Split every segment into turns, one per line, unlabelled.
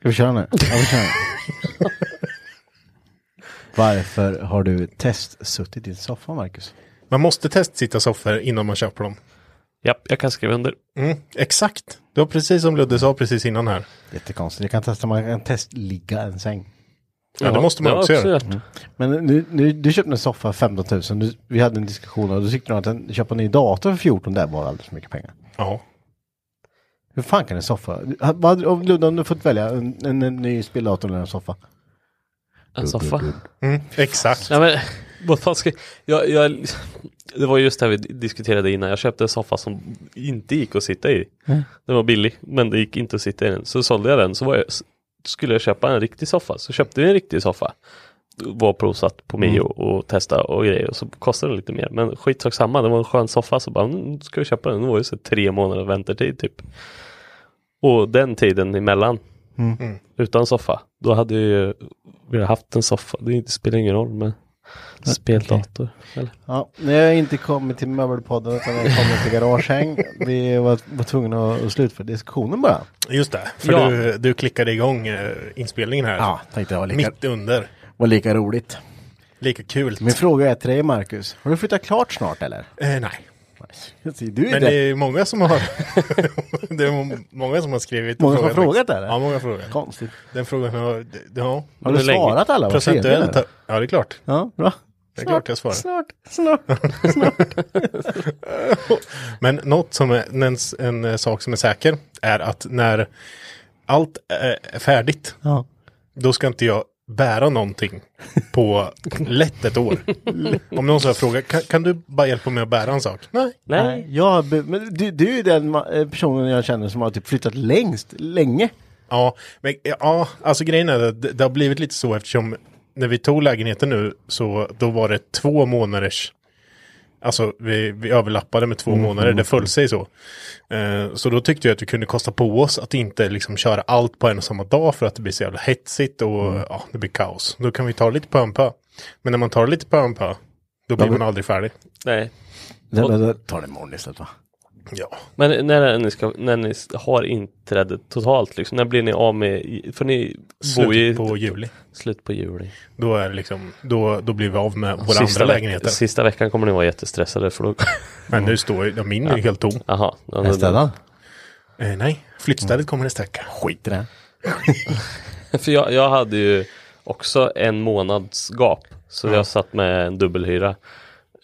Ska vi köra nu? Ja, vi kör nu. Varför har du testsuttit i din soffa, Marcus?
Man måste testsitta soffor innan man köper dem.
Japp, jag kan skriva under.
Mm, exakt. Det var precis som Ludde sa precis innan här.
Jättekonstigt. Jag kan testa, man kan testligga en säng.
Ja, det måste man
har
också göra.
gjort.
Men nu, nu, du köpte en soffa för 15 000. Du, vi hade en diskussion och du tyckte nog att en, köpa en ny dator för 14 där var alldeles för mycket pengar.
Ja.
Hur fan kan en soffa? Vad hade- om, Ludde, om du fått välja en, en, en ny speldator eller en soffa?
En soffa.
Mm, exakt.
Nej men, vad fan ska jag, jag... Det var just det här vi diskuterade innan. Jag köpte en soffa som inte gick att sitta i. Den var billig, men det gick inte att sitta i den. Så sålde jag den, så var jag, skulle jag köpa en riktig soffa. Så köpte vi en riktig soffa. Var provsatt på Mio och testa och grejer. Och så kostade den lite mer. Men skitsak samma, det var en skön soffa. Så bara, "Mm, ska vi köpa den? Det var ju så tre månader väntetid typ. Och den tiden emellan. Utan soffa. Då hade jag ju velat haft en soffa. Det inte- spelar ingen roll med speldator. Eller?
Ja, nu har jag inte kommit till möbelpodden utan jag har kommit till garagehäng. Vi var, var tvungna att slutföra diskussionen bara.
Just det. För
Ja.
du, du klickade igång eh, inspelningen här.
Ja, tänkte jag var lika,
Mitt under.
var lika roligt.
Lika kul.
Min fråga är till dig Marcus. Har du flyttat klart snart eller?
Eh, nej.
Jag ser, Du är
Men det
det.
är många som har, det är må- många som har skrivit. och
Många som har
faktiskt.
frågat, eller?
Ja, många frågar.
Konstigt.
Den frågan har, d- ja,
Har du
Hur länge?
svarat alla? Var
procentuellt.
tredje,
har-
eller?
Ja, det är klart.
Ja, bra.
Det är klart jag svarar.
Snart, snart.
Men något som är, en, en eh, sak som är säker är att när allt eh, är färdigt,
Ja.
då ska inte jag bära någonting på lätt ett år. Om någon så här frågar, kan, kan du bara hjälpa mig att bära en sak? Nej.
Nej.
Jag, har be- men du, du är den ma- eh, personen jag känner som har typ flyttat längst, länge.
Ja, men ja, alltså grejen är att det, det har blivit lite så eftersom när vi tog lägenheten nu så då var det två månaders, alltså vi, vi överlappade med två månader, det föll sig så. Eh, så då tyckte jag att vi kunde kosta på oss att inte liksom köra allt på en och samma dag för att det blir så jävla hetsigt och ja, det blir kaos. Då kan vi ta lite på en på. Men när man tar lite på en på, då blir man aldrig färdig.
Nej.
Det,
Och-
men, det tar det imorgon istället va?
Ja.
Men när ni, ska, när ni har inträde totalt, liksom, när blir ni av med, i- för ni bor ju
Slutet på juli.
slut på juli.
Då, är det liksom, då, då blir vi av med våra
Sista,
andra
veck-
lägenheter.
sista veckan kommer ni vara jättestressade för då,
Men nu står ju, min är ju helt tom.
jaha. Ja,
Är städan?
Eh, nej, flyttstädet kommer nästa vecka.
Skit i det.
För jag, jag hade ju också en månads gap. Så jag satt med en dubbelhyra.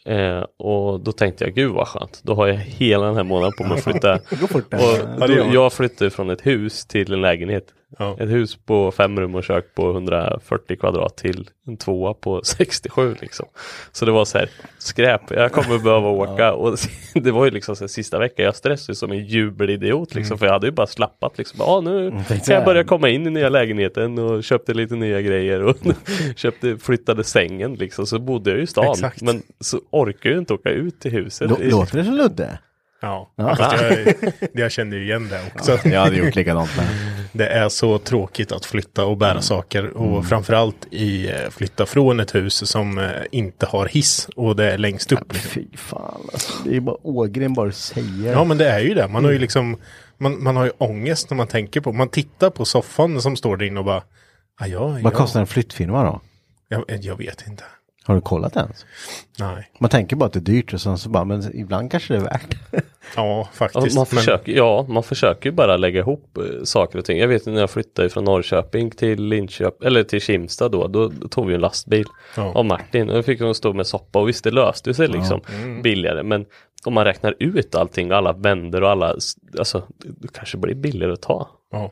Eh, och då tänkte jag, gud vad skönt. Då har jag hela den här månaden på mig att flytta. och
det
då,
gör man.
jag flyttade från ett hus till en lägenhet.
Ja.
Ett hus på fem rum och kök på 140 kvadrat till en tvåa på 67 liksom. Så det var så här, skräp, jag kommer behöva åka. Och det var ju liksom så här, sista veckan, jag stressade ju som en jubelidiot liksom.
Mm.
För jag hade ju bara slappat liksom, ja nu
tänkte
kan jag
jag.
börja komma in i nya lägenheten och köpte lite nya grejer och köpte, flyttade sängen liksom. Så bodde jag ju i stan.
Exakt.
Men så orkar jag ju inte åka ut till huset.
Lå- Låter det som Ludde?
Ja,
Ja.
Fast jag, jag kände ju igen det också.
Jag hade gjort likadant med.
Det är så tråkigt att flytta och
Mm.
bära saker och framförallt i eh, flytta från ett hus som eh, inte har hiss och det är längst upp. liksom.
Fy fan alltså. Det är bara Ågren bara säger.
Ja men det är ju det. Man har
Mm.
ju liksom man, man har ju ångest när man tänker på. Man tittar på soffan som står där inne och bara. "Ah, Ja, ja,
Vad kostar en flyttfirma då?
jag, jag vet inte.
Har du kollat ens?
Nej.
Man tänker bara att det är dyrt och sen så bara, men ibland kanske det är värt det.
Ja
Alltså,
Ja,
faktiskt.
man
men-
försöker, ja, man försöker ju bara lägga ihop eh, saker och ting. Jag vet ju när jag flyttade från Norrköping till Linköping, eller till Kimstad då, då tog vi en lastbil
Ja.
av Martin. Och då fick hon stå med soppa och visst det löste sig liksom
Mm.
billigare. Men om man räknar ut allting, alla vänder och alla, s- alltså det det kanske blir billigare att ta.
Ja.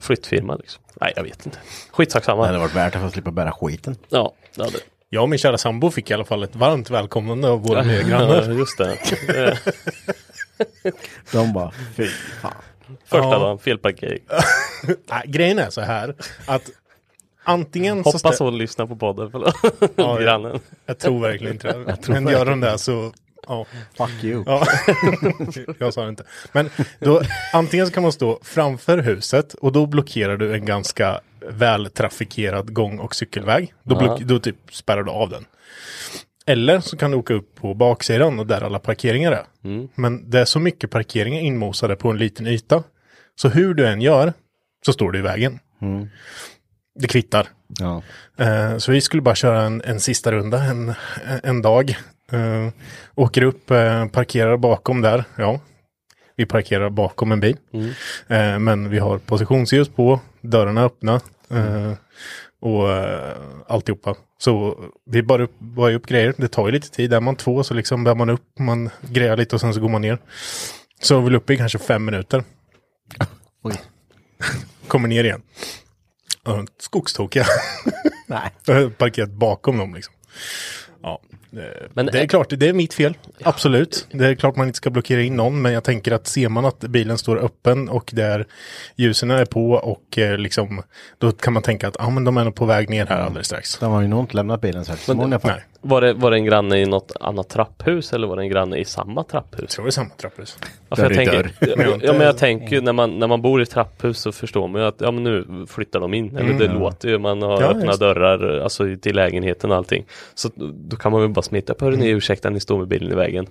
Flyttfirma liksom. Nej, jag vet inte. Skitsamma.
Det hade varit värt det för att slippa bära skiten.
Ja, det hade
Jag och min kära sambo fick i alla fall ett varmt välkomnande av våra nya
Ja,
grannar.
just det. Eh,
De bara, fy fan.
Första
Ja.
dagen, fel parkering.
Nej, Äh, grejen är så här att antingen så...
Hoppas
stä-
hon lyssnar på podden. Förlåt.
Ja,
Grannen.
Jag tror verkligen inte det.
tror
Men gör hon det så... Ja.
Fuck you.
Ja. jag sa det inte. Men då, antingen så kan man stå framför huset och då blockerar du en ganska vältrafikerad gång och cykelväg. Då, block, då typ spärrar du av den. Eller så kan du åka upp på baksidan och där alla parkeringar är. Men det är så mycket parkeringar inmosade på en liten yta. Så hur du än gör så står du i vägen. Det kvittar.
Ja.
Eh, Så vi skulle bara köra en, en sista runda en, en dag. Eh, åker upp, eh, parkerar bakom där. Ja, vi parkerar bakom en bil. Eh, men vi har positionsljus på, dörrarna öppna eh, och eh, alltihopa. Så vi bara upp, bara upp grejer. Det tar ju lite tid. Är man två så liksom bär man upp, man grejar lite och sen så går man ner. Så är vi uppe i kanske fem minuter.
Oj.
Kommer ner igen. Ja, Skogstokiga.
Nej.
Jag har parkerat bakom dem liksom. Ja, eh,
Men
det är
är-
klart, det är mitt fel. Absolut. Det är klart man inte ska blockera in någon, men jag tänker att ser man att bilen står öppen och där ljusen är på och eh, liksom, då kan man tänka att ah, men de är nog på väg ner här alldeles strax.
De har ju nog inte lämnat bilen särskilt många fall.
Nej,
Var det, var det en granne i något annat trapphus eller var det en granne i samma
jag
trapphus?
tror det är samma trapphus.
Ja, för Alltså, jag
Dörr i
tänker, ja, ja, men jag tänker ju när man, när man bor i trapphus så förstår man ju att ja, men nu flyttar de in. Eller det låter ju, man har
Ja,
öppna
just
dörrar alltså, i- till lägenheten och allting. Så att då kan man väl bara smita på hörni, ursäkta ni står med bilen i vägen.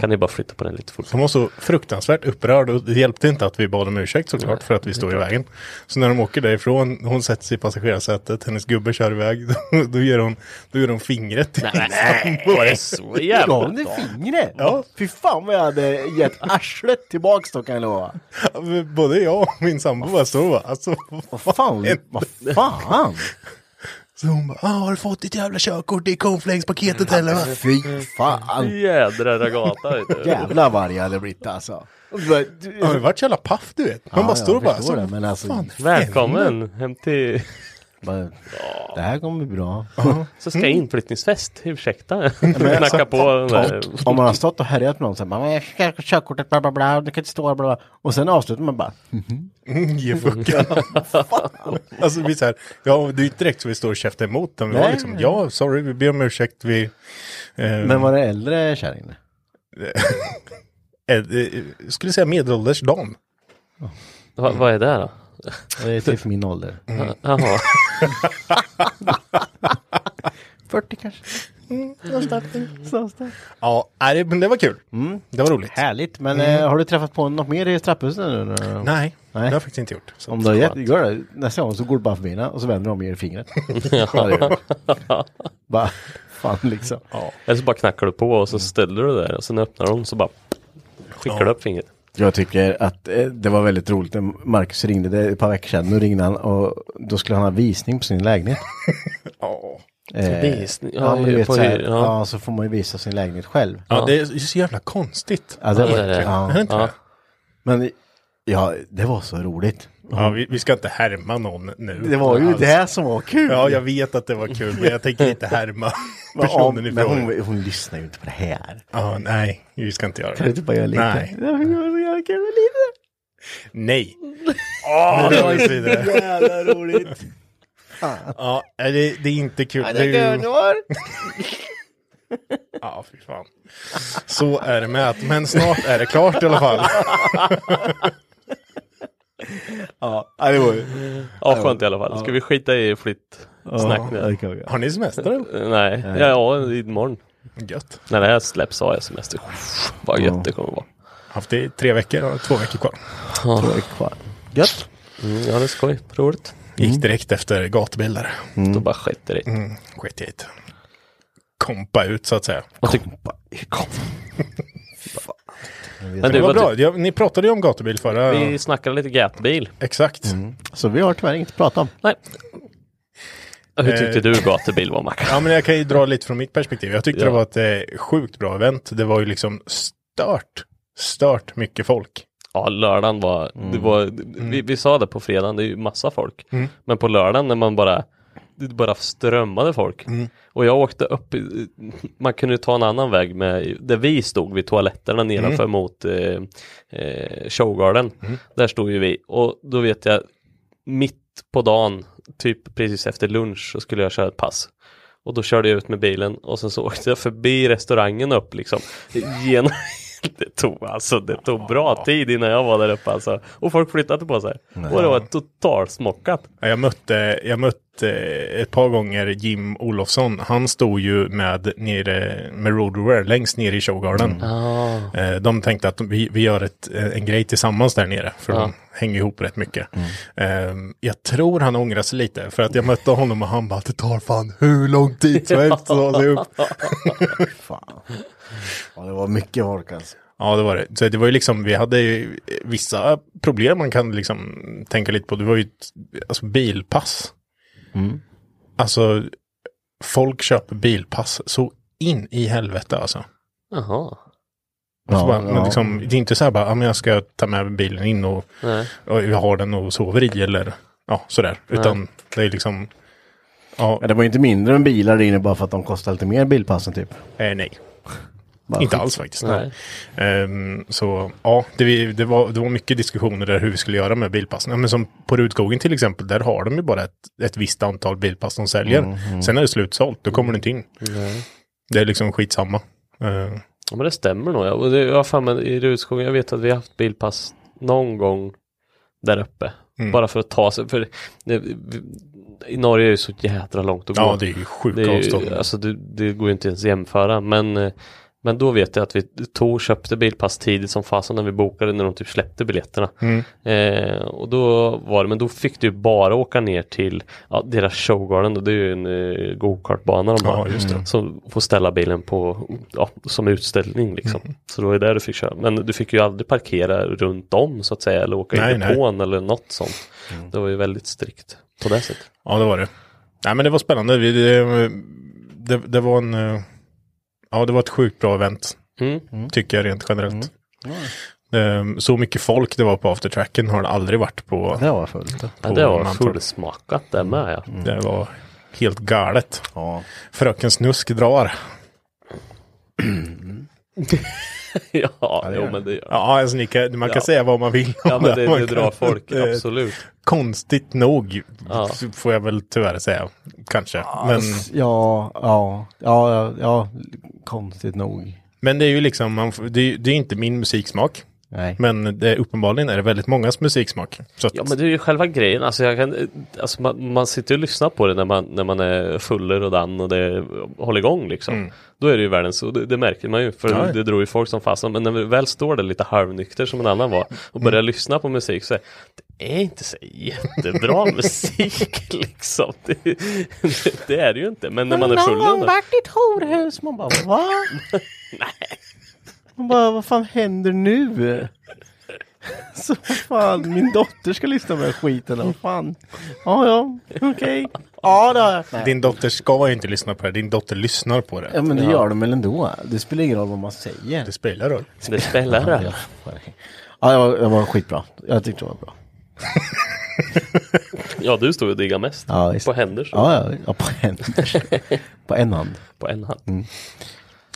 Kan ni bara flytta på den lite fort?
De var så fruktansvärt upprörda och det hjälpte inte att vi bad om ursäkt såklart för att vi står i vägen. Så när de åker därifrån, hon sätter sig i passagerarsätet, hennes gubbe kör iväg, då, då, gör, hon, då gör hon fingret.
Nej, var det så
Gav hon
jävla
dig fingret? Ja. Fy fan vad jag hade gett arslet tillbaks då kan jag lova.
Både jag och min sambo bara så va. Alltså,
Vad fan? Vad fan?
så hon bara, ah, har du fått ditt jävla körkort i cornflakespaketet
Mm.
eller? va?"
Fy fan.
Jädra ragata. vet du.
Jävla varg jag hade blivit alltså.
Och du bara, du-
Jag har ju varit så jävla paff du vet. Man
Ja,
bara
jag
står och bara,
förstår
så,
det, men alltså-
fan.
Välkommen hem till...
bara, Det här kommer bli bra.
Så ska jag inflyttningsfest, ursäkta. Knacka på den där.
Om man har stått och härjat med någon så här, man ska körkortet bla bla bla, du kan inte stå här bla bla. Och sen avslutar man bara,
Mm, ge fucken. Fan. alltså vi så här, ja det är ju inte direkt så vi står och käftar emot dem. Vi var
Nej.
liksom, ja sorry, vi ber om ursäkt, vi... Eh,
men var det äldre kärring?
eh, eh, skulle säga medelålders dam.
Va, vad är det då?
Och det är typ min ålder.
Jaha.
40 kanske.
Ja, nej, men det var kul.
Mm.
Det var roligt.
Härligt, men eh, har du träffat på något mer i trapphusen nu? nu?
Nej, det har
Nej.
jag faktiskt inte gjort. Så
Om du har gett,
skönt.
gör det nästa gång så går du bara förbi henne och så vänder du om och ger dig fingret. Ja, det gör du. bara, fan liksom.
Eller så bara knackar du på
Mm.
och så ställer du det där och sen öppnar de så bara skickar du upp fingret.
Jag tycker att eh, det var väldigt roligt när Marcus ringde, det är ett par veckor sedan, nu ringde han och då skulle han ha visning på sin lägenhet.
Ja.
Eh,
Visning? Ja,
Ja, men du vet,
på
så här,
hyr- ja.
ja, så får man ju visa sin lägenhet själv.
ja, det är ju så jävla konstigt.
Ja, det
Ja,
var,
det är det.
ja.
Är det inte
Ja.
det?
Men ja, det var så roligt.
Ja, vi, vi ska inte härma någon nu.
Det var ju
Alls.
det här som var kul.
Ja, jag vet att det var kul, men jag tänker inte härma
Ja,
personen i
men
fråga.
hon, hon lyssnar ju inte på det här.
Ja, nej, vi ska inte göra
Kan du
det.
inte typ bara göra lite?
Nej.
Det var så jävla kul med lite.
Nej. Åh, det var vidare.
Jävla roligt.
Ja, nej, det, det är inte kul.
Ja,
Det
det
är
kan
ju,
jag
Ja, fy fan. Så är det med att, men snart är det klart i alla fall.
Ja, det var ju...
Ja, skönt i alla fall. Ska vi skita i flytt? Snack nu.
det kan vi göra.
Har ni semester? eller?
Eh, Nej, ja, ja imorgon.
Gött.
När det här släpps har jag semester. Vad
Ja.
gött det kommer vara.
Haft det i tre veckor, ja, två veckor kvar.
Två veckor kvar. Gött!
Mm, ja, det är skoj. Roligt.
Gick direkt efter gatubilder.
Då bara skiter det i.
Mm, sket i det. Kompa ut så att säga.
Vad tycker Men
Det
du,
var
vad
bra.
ty-
Jag, ni pratade ju om gatubil förra.
vi Mm. snackade lite gatbil.
Exakt.
Så vi har tyvärr inget att prata om.
Nej. Hur tyckte
Eh.
du gatubil var Mackan?
Ja, men jag kan ju dra lite från mitt perspektiv. Jag tyckte
Ja.
det var ett eh, sjukt bra event. Det var ju liksom stört, stört mycket folk.
Ja, lördagen var, det var vi, vi sa det på fredagen, det är ju massa folk. Men på lördagen när man bara, det bara strömmade folk. Och jag åkte upp, i- man kunde ta en annan väg med, där vi stod vid toaletterna nedanför mot eh, eh, showgarden. Där stod ju vi och då vet jag, mitt på dagen, typ precis efter lunch, så skulle jag köra ett pass. Och då körde jag ut med bilen och sen så åkte jag förbi restaurangen upp liksom. Genom... Det tog alltså, det tog bra tid innan jag var där uppe alltså. Och folk flyttade på sig. Och det var totalsmockat.
Ja, Jag mötte, jag mötte eh, ett par gånger Jim Olofsson. Han stod ju med, nere, med Roadwear längst ner i showgarden. Eh, De tänkte att vi, vi gör ett, eh, en grej tillsammans där nere, för de hänger ihop rätt mycket. Eh, Jag tror han ångrar sig lite, för att jag mötte honom och han bara, det tar fan hur lång tid som helst att ta sig upp.
Fan. Ja, det var mycket folk alltså.
Ja, det var det. Så det var ju liksom, vi hade ju vissa problem man kan liksom tänka lite på. Det var ju ett alltså, bilpass.
Mm.
Alltså, folk köper bilpass så in i helvete alltså.
Jaha.
alltså bara, men
ja.
liksom, det är inte så här bara, ja, men jag ska ta med bilen in och,
Nej.
och jag har den och sover i eller ja, sådär. Utan det är liksom, ja,
Ja, det var ju inte mindre än bilar där inne bara för att de kostar lite mer bilpassen typ.
eh, nej.
Bara
Inte
skit.
alls faktiskt.
Nej.
Nej. Ehm, så ja, det, vi- det, var, det var mycket diskussioner där hur vi skulle göra med bilpassen. Ja, men som på Rudskogen till exempel, där har de ju bara ett, ett visst antal bilpass de säljer.
Mm,
Sen är det slutsålt, då kommer du inte in. Det är liksom skitsamma. Ehm,
Ja, men det stämmer nog. Jag, och det- jag, har fan, men i Rudskogen, jag vet att vi har haft bilpass någon gång där uppe.
Mm.
Bara för att ta sig, för det, vi- i Norge är det så jädra långt att gå.
ja, det är ju sjuka
Det är
avstånd.
ju, alltså det, det går ju inte ens att jämföra men, eh, men då vet jag att vi tog köpte bilpass tidigt som fasen när vi bokade när de typ släppte biljetterna.
Mm.
Eh, och då var det, men då fick du bara åka ner till ja, deras showgarden och det är ju en eh, gokartbana de
Ja,
har.
just det.
Som får ställa bilen på, ja, som utställning liksom.
Mm.
Så då är det där du fick köra. Men du fick ju aldrig parkera runt om så att säga eller åka
Nej, Mm.
in i
nej.
depån eller något sånt. Det var ju väldigt strikt på det sättet.
Ja, det var det. Nej, men det var spännande. Vi, det, det, det var en... eh, Ja, det var ett sjukt bra event.
Mm.
Tycker jag rent generellt. Ehm, så mycket folk det var på aftertracken har det aldrig varit på.
Det var fullt.
Ja, det var
Mantorp.
fullsmakat det med ja.
Det var helt galet.
Ja.
Fröken Snusk drar.
Ja, jo, men det gör det.
Ja, alltså, ni kan, man kan
Ja.
säga vad man vill. om
Ja, men det,
Man
det
kan-
drar folk,
eh,
absolut.
Konstigt nog,
Ja.
så får jag väl tyvärr säga. Kanske. Men,
alltså.
Ja, ja, ja, ja, konstigt nog.
men det är ju liksom, man, får- det, är- det är inte min musiksmak.
Nej.
Men det, uppenbarligen är det väldigt mångas musiksmak. Så att,
Ja, men det är ju själva grejen. Alltså, jag kan, alltså, man, man sitter och lyssnar på det när man, när man är fuller och dan och det håller igång liksom. Då är det ju världens, och det, det märker man ju, för
Ja.
det drog ju folk som fasen. Men när vi väl står där lite halvnykter som en annan var och börjar lyssna på musik så är det är inte så jättebra musik liksom. Det, det, det är det ju inte. Men när man är full ändå.
i ett horhus. Man bara va? Nej. Man bara vad fan händer nu? Så vad fan, min dotter ska lyssna på den här skiten. Vad fan. Ja, ja, okej. Ja, det har jag.
Din dotter ska ju inte lyssna på det, din dotter lyssnar på det.
Ja, men det gör de väl ändå. Det spelar ingen roll vad man säger.
Det spelar roll.
Det spelar roll.
Ja, det var, det var skitbra. Jag tyckte det var bra.
Ja, du stod och diggade mest.
Ja, visst.
på händer så.
Ja, ja, ja på en På en hand.
På en hand.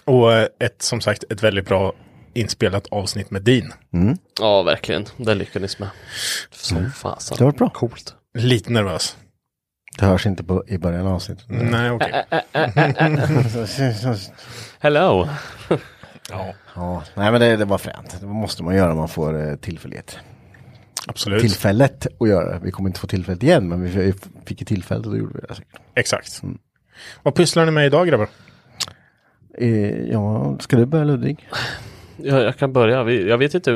Och eh, ett, som sagt, ett väldigt bra inspelat avsnitt med din.
Ja, verkligen. Det lyckades med. Som fasen.
Det var bra.
Coolt.
Lite nervös.
Det hörs inte på, i början av avsnittet.
Nej, okej.
Hello!
Ja, nej men det, det var fränt. Det måste man göra om man får eh, tillfällighet.
Absolut.
Tillfället att göra det. Vi kommer inte få tillfället igen men vi f- fick ju tillfället och då gjorde vi det säkert.
Exakt.
Mm.
Vad pysslar ni med idag grabbar?
Eh, ja, ska du börja Ludvig?
Ja, jag kan börja. Vi, jag vet inte,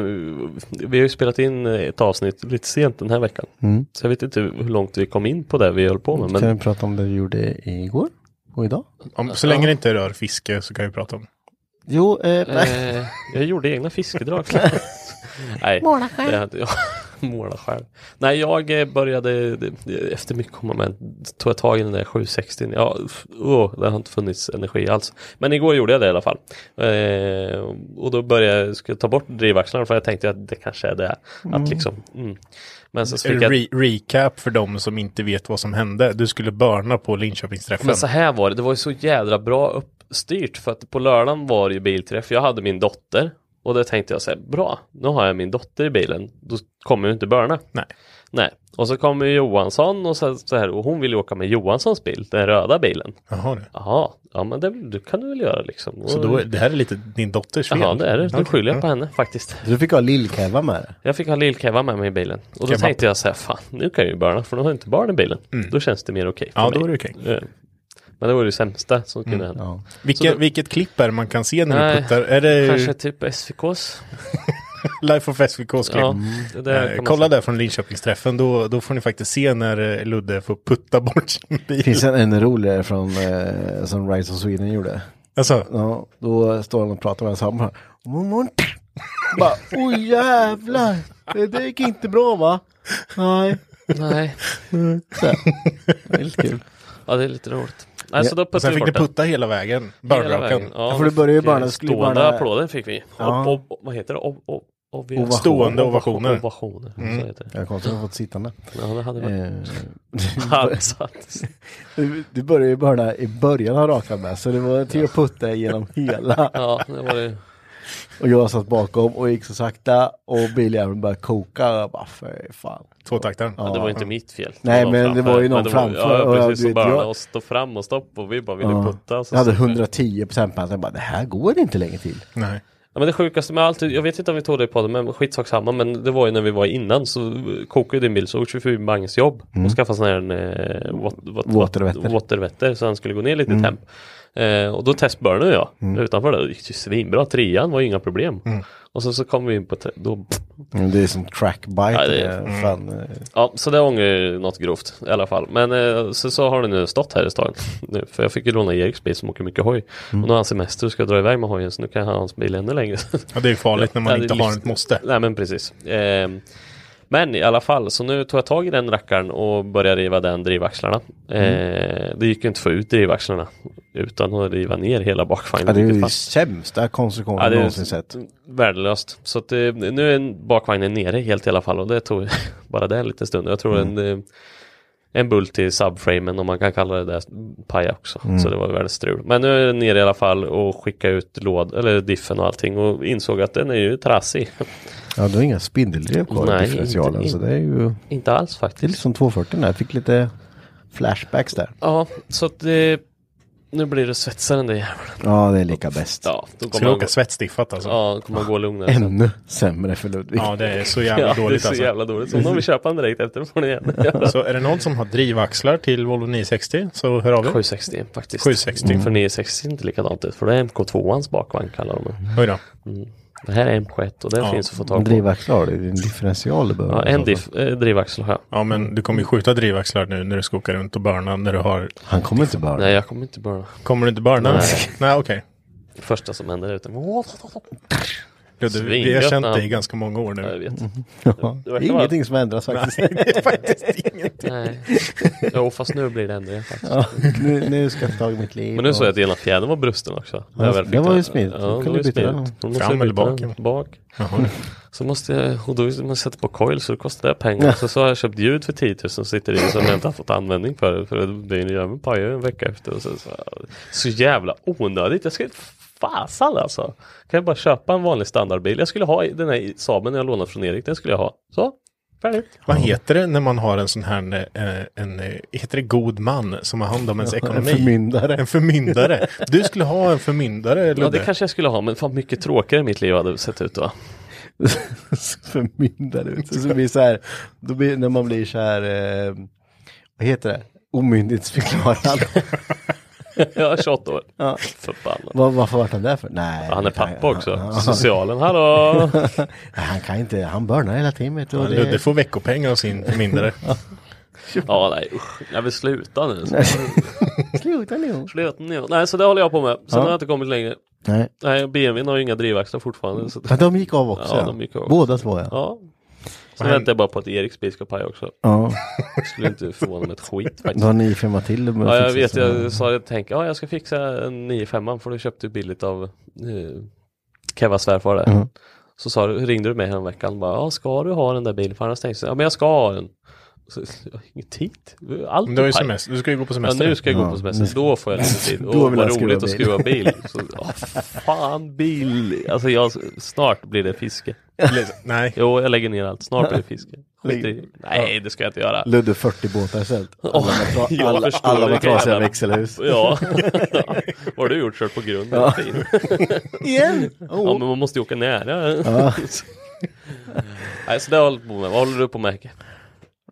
vi har ju spelat in ett avsnitt lite sent den här veckan. Så jag vet inte hur långt vi kom in på det vi höll på med.
Kan
Men
vi prata om det du gjorde igår? Och idag?
Om, så länge det inte rör fiske så kan vi prata om.
Jo, eh,
eh, jag gjorde egna fiskedrag. Nej, Måla själv. Jag, måla själv. Nej, jag eh, började det- efter mycket komma med, tog jag tag i den där 760. Ja, f- åh, det har inte funnits energi alls. Men igår gjorde jag det i alla fall. Eh, och då började jag ska ta bort drivaxlarna för jag tänkte att det kanske är det. Att liksom, mm. Men så fick jag
Re- recap för de som inte vet vad som hände. Du skulle börna på Linköpingsträffen.
Men så här var det, det var ju så jädra bra uppstyrt för att på lördagen var det ju bilträff, jag hade min dotter och det tänkte jag så här, bra, nu har jag min dotter i bilen, då kommer jag inte börna.
Nej.
Nej, och så kommer Johansson och så, så här, och hon vill ju åka med Johanssons bil, den röda bilen.
Jaha, det.
Jaha, ja men det, det kan du väl göra liksom.
Så
Och-
då, är- det här är lite din dotters fel?
Jaha, det är det. Nu
Okej.
skyller jag på
Ja.
henne faktiskt.
du fick ha lillkeva med det.
Jag fick ha lill-Keva med mig i bilen. Och då
Kebab.
tänkte jag så här, fan nu kan jag ju börna för nu har jag inte barn i bilen. Då känns det mer okej för
Mm. Ja, då
mig.
är det Mm. okej.
Eh, Men det var ju det sämsta som kunde hända.
Vilket,
Så då-
vilket klipp är det man kan se när
Nej,
du puttar? Är
Eh,
det
Kanske typ SVKs.
Life of SVKs klipp?
Mm.
Ja, det där
Eh,
kan man
Kolla
säga.
där från Linköpingsträffen, då, då får ni faktiskt se när eh, Ludde får putta bort sin bil.
Finns en, en roligare från, eh, som Rise of Sweden gjorde.
Alltså,
Ja, då står han och pratar med hans sambo. Mormor. Bara, oj jävlar. Det, det gick inte bra va? Nej.
Nej,
Så här. Det är Helt kul.
ja, det är lite roligt. Nej, så då
och sen
puttade vi
fick ni
bort den.
putta hela vägen. Börnrakan.
Ja,
för det började ju
fick,
bara-
eh,
det skulle ju
Stående
bara-
applåder fick vi.
Ja.
Och, och, vad heter det? Och, och, och vi-
Ovation.
Stående ovationer.
Ovationer, så heter det.
Jag har konstigt fått sittande.
Ja, det hade varit...
Mm. Eh,
Han satt.
du- du Eh, började ju bara i början av rakan med. Så det var till att putta igenom hela.
Ja, det var det.
Och jag satt bakom och gick så sakta. Och biljäveln började koka. Och jag bara, för fan.
Tvåtaktaren.
Ja, det var inte mitt fel.
Nej,
någon
men det var ju någon framför.
Ja,
Och jag-
precis.
du
Som
vet,
bara
jag-
och stå fram och stopp och vi bara ville
Ja.
putta. och så
jag hade
stoppade vi.
110 procent på att jag bara, det här går inte länge till.
Nej.
Ja, men det sjukaste med allt, jag vet inte om vi tog det i podden, men skitsak samma. Men det var ju när vi var innan så eh, kokade ju din bil så åkte vi förbi Manges jobb och skaffade sån här en eh, wat, wat,
Watervetter.
watervetter, så han skulle gå ner lite i temp. Eh, och då testburnade jag utanför det. Det gick ju svinbra. Trean var ju inga problem. Och så, så kom vi in på... te- Då,
Mm, Det är som crackbite.
Ja, det
det
är- Mm.
är fan, eh,
ja, så det ångrar ju något grovt i alla fall. Men eh, så, så har den nu stått här ett tag. Nu, för jag fick ju låna Eriks bil som åker mycket hoj. Och nu har han semester och ska dra iväg med hojen så nu kan jag ha hans bil ännu längre.
Ja, det är ju farligt när
Ja,
man
det
inte
är
har
livs-
ett måste.
Nej men precis. Ehm, men i alla fall, så nu tog jag tag i den rackaren och började riva den drivaxlarna.
Mm.
Ehm, det gick ju inte att få ut drivaxlarna utan att riva ner hela bakvagnen.
Ja, det är
vilket
ju
fast-
sämsta konstruktionen
Ja, det är
någonsin sett.
Värdelöst. Så att, eh, nu är en- bakvagnen nere helt i alla fall och det tog bara det en liten stund. Jag tror
Mm.
en, eh, en bult i subframen om man kan kalla det där pajade också.
Mm.
Så det var väldigt strul. Men nu är den nere i alla fall och skicka ut låd, eller diffen och allting och insåg att den är ju trassig.
Ja, du har inga spindeldrev kvar
Nej,
i differentialen.
inte-
Så det är ju
Inte alls
det är
faktiskt.
liksom 240 där. Jag fick lite flashbacks där.
Ja, så att det... Nu blir det svetsa den där jäveln.
Ja, det är lika bäst.
Ja, då
Ska du
man,
åka svettstiffat alltså?
ja, då kommer man gå lugnare. sen.
Ännu sämre för Ludvig.
Ja, det är så jävla
Ja, det är
dåligt
så
alltså.
jävla dåligt. Så om de vill köpa den direkt efter får ni igen. Jävla
Så är det någon som har drivaxlar till Volvo 960 så hör av er.
760 faktiskt.
760.
För 960 ser inte likadant ut. För det är MK2ans bakvagn kallar de den.
Oj då.
Det här är MK1 och den
Ja.
finns att få
En
tag på.
drivaxel har du, det är en differential du behöver.
Ja, en diff, eh, drivaxel har jag.
Ja, men du kommer ju skjuta drivaxlar nu när du ska åka runt och börna när du har...
Han kommer inte bara.
Nej, jag kommer inte börja.
Kommer du inte börna?
Nej.
Nej, okej.
Det första som händer är utan...
Ludde, vi- vi har
Svingött
känt
när han-
dig i ganska många år
Ja, Jag
nu.
vet.
Mm-hmm. Ja,
verkar
det är
vara-
ingenting som ändras faktiskt.
Nej. Jo, fast nu blir det ändring faktiskt.
Ja, nu, nu ska jag ta tag i mitt liv.
Men nu såg jag
och-
att ena fjädern var brusten också. När jag väl fick
det var ju
den.
smidigt. Då
Ja, det
kunde
var ju
du byta den.
smidigt. Då måste
Fram
jag byta
eller bak,
den.
ja.
Bak.
Jaha.
Så måste jag, och då måste man sätta på coil så det kostar det pengar. Så, så har jag köpt ljud för 10 000 som sitter i som jag inte har fått användning för. För det blir ju även pajar en vecka efter. Och så, så, så jävla onödigt. Jag ska fasan alltså. Kan jag bara köpa en vanlig standardbil. Jag skulle ha i- den här i- Saaben jag lånat från Erik. Den skulle jag ha. Så. Färdigt.
Vad heter det när man har en sån här, eh, en, eh, heter det god man som har hand om ens
En
ekonomi?
förmyndare.
En förmyndare. Du skulle ha en förmyndare,
Ja, det
Ludde.
kanske jag skulle ha, men fan mycket tråkigare mitt liv hade sett ut då.
förmyndare. ut. Så det blir så här, då blir, när man blir så här, eh, vad heter det? Omyndighetsförklarad.
Jag är 28 år.
Ja.
Förbannat.
Vad- Varför vart han där för? Nej.
Han är pappa också.
Han,
Socialen, hallå!
han kan inte, han börnar hela teamet. Och
Ludde
det,
får veckopeng av sin förmyndare.
Ja, nej usch. Jag vill sluta nu.
sluta nu.
Sluta nu. Nej, så det håller jag på med. Sen har jag inte kommit längre.
Nej.
Nej, BMWn har ju inga drivaxlar fortfarande. Så
Men de gick av också.
Ja, de gick av.
Båda två ja.
Ja. Sen väntar jag bara på att Eriks bil ska paja också.
ja.
Det skulle inte förvåna mig ett skit
Då
faktiskt.
har ni femma till. att
Ja, jag
fixa
vet,
sådana.
jag sa jag tänkte, ja jag ska fixa en 95 för du köpte ju billigt av eh, Kevas svärfar där. Så sa du, ringde du mig häromveckan bara, ja ska du ha den där bilen? För annars tänkte jag, ja men jag ska ha den. Så, jag har ingen tid. Allt
Du har
är
ju
paj.
semester, du ska ju gå på
Ja,
semester.
nu ska jag gå
Ja,
på
nu
semester.
ska-
Då får jag lite tid.
Då
Och
vill
vad
jag skruva
roligt
bil.
att skruva bil. Så, ja, fan bil. Alltså jag, snart blir det fiske.
Nej,
Jo, jag lägger ner allt. Snart blir det fiske. Skit i. Nej, det ska jag inte göra.
Ludde 40 båtar sett.
Åh, jag
alla-
förstår
alla
det,
var trasiga
jävlar.
växelhus.
Ja. Vad har du gjort? Kört på grund hela tiden?
Igen?
Ja, men man måste ju åka nära. Nej, så det har jag hållit på med. Vad håller du på med Henke?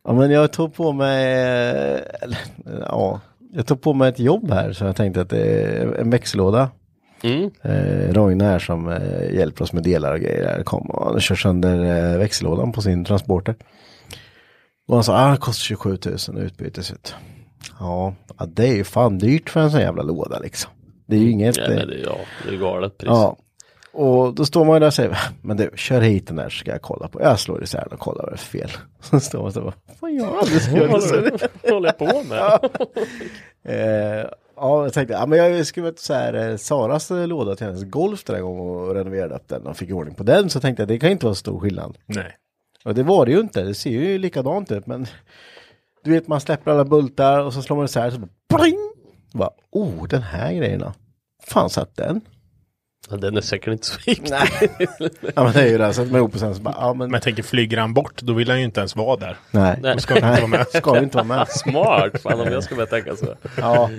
Ja, men jag tog på mig, eh, eller, ja, jag tog på mig ett jobb här så jag tänkte att det är en växellåda.
Mm.
Eh, Roine här som eh, hjälper oss med delar och grejer. här, Kom och han kör sönder eh, växellådan på sin transporter. Och han sa, ah, det kostar 27 000 och utbytes ut. Ja, ja, det är ju fan dyrt för en sån jävla låda liksom. Det är ju inget.
Ja,
eh,
men det, ja, det är galet pris.
Ja. Och då står man ju där och säger, men du, kör hit den där så ska jag kolla på. Jag slår isär den och kollar vad det är för fel. Så står man så bara, fan jag har aldrig
Vad
skrivit
håller
så.
du vad håller jag på med?
Eh, ja, jag tänkte, ja, men jag skrev ett så här, eh, Saras eh, låda till hennes golf den här gången och renoverade upp den och fick ordning på den. Så tänkte jag, det kan ju inte vara stor skillnad.
nej.
Och det var det ju inte, det ser ju likadant ut men du vet man släpper alla bultar och så slår man isär så bara, pling! Bara, oh den här grejerna. Fan satt den?
Ja, Den är säkert inte så viktig.
Nej. ja men det är ju det, här, sätter man ihop och sen så bara, ja
Men jag tänker, flyger han bort, då vill han ju inte ens vara där.
Nej,
Nej.
ska inte vara med. Ska vi inte vara med.
Smart, fan om jag ska börja tänka så.
Ja.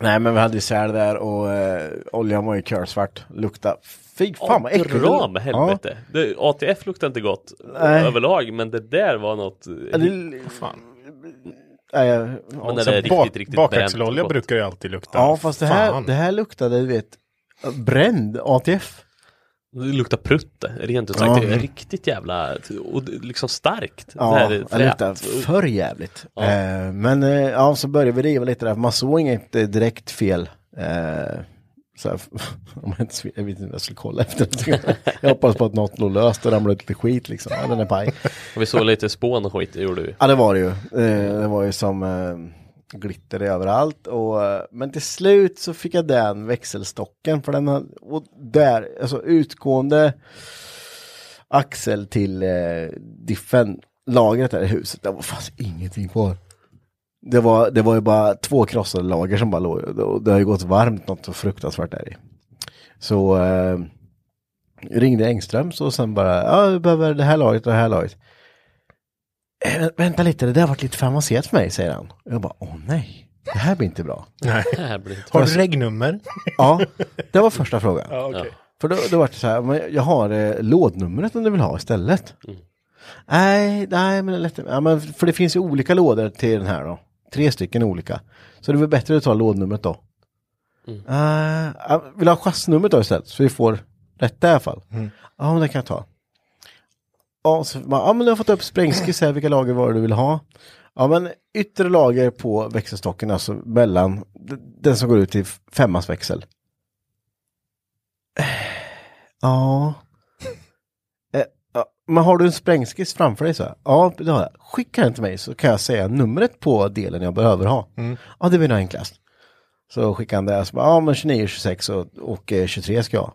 Nej, men vi hade isär där och eh, oljan var ju körsvart. Lukta. Fy fan vad äckligt.
Bra med helvete. Det, ATF luktar inte gott
Nej.
överlag men det där var något.
Ja, det, Nej, jag-
men när det är
Bak,
riktigt, riktigt
bakaxelolja
bränt och gott.
brukar ju alltid lukta.
ja, fast det här,
Fan.
det här luktade, du vet, bränd ATF.
Det luktar prutt det, rent ut
Ja.
sagt. Det är riktigt jävla och det- liksom starkt. det
Ja,
här är
det
fränt.
luktar för jävligt. Eh, men eh, ja, så började vi riva lite där, för man såg inget eh, direkt fel. Eh, så här, om jag, inte, jag vet inte vad jag skulle kolla efter. jag hoppas på att något låg löst och ramlade ut lite skit liksom. Ja, den är paj.
Och Vi såg lite spån och skit, det gjorde vi.
Ja det var det ju. Eh, Det var ju som eh, glitter överallt. Och, eh, men till slut så fick jag den växelstocken. För den hade, och där, alltså utgående axel till eh, diffen, lagret där i huset, det var fast ingenting kvar. Det var, det var ju bara två krossade lager som bara låg och det har ju gått varmt något så fruktansvärt där i. Så eh, ringde Engströms och sen bara, ja vi behöver det här laget och det här laget. "Eh, vä- Vänta lite, det där har varit lite för avancerat för mig, säger han. Och jag bara, åh nej, det här blir inte bra.
Nej.
Det här blir inte-
Har du regnummer?
ja, det var första frågan.
okej.
För då, då var det så här, men jag har eh, lådnumret om du vill ha istället.
Mm.
Nej, nej, men, det är lätt, ja, men för det finns ju olika lådor till den här då. Tre stycken olika. Så det är väl bättre att ta lådnumret då.
Mm.
Eh, ja, vill du ha chassnumret då istället? Så vi får rätta i alla fall.
Mm.
Ja, men det kan jag ta. Ja, så, bara, ja men du har fått upp sprängskiss här, vilka lager var det du vill ha? Ja men yttre lager på växelstocken, alltså mellan d- den som går ut till femmans växel. Eh, Ja. Eh, ja, Men har du en sprängskiss framför dig så? här? Ja, det har jag. Skicka den till mig så kan jag säga numret på delen jag behöver ha.
Mm.
Ja, det blir nog enklast. Så skickade han det. Så bara, ja, men 29, 26 och, och eh, 23 ska jag ha.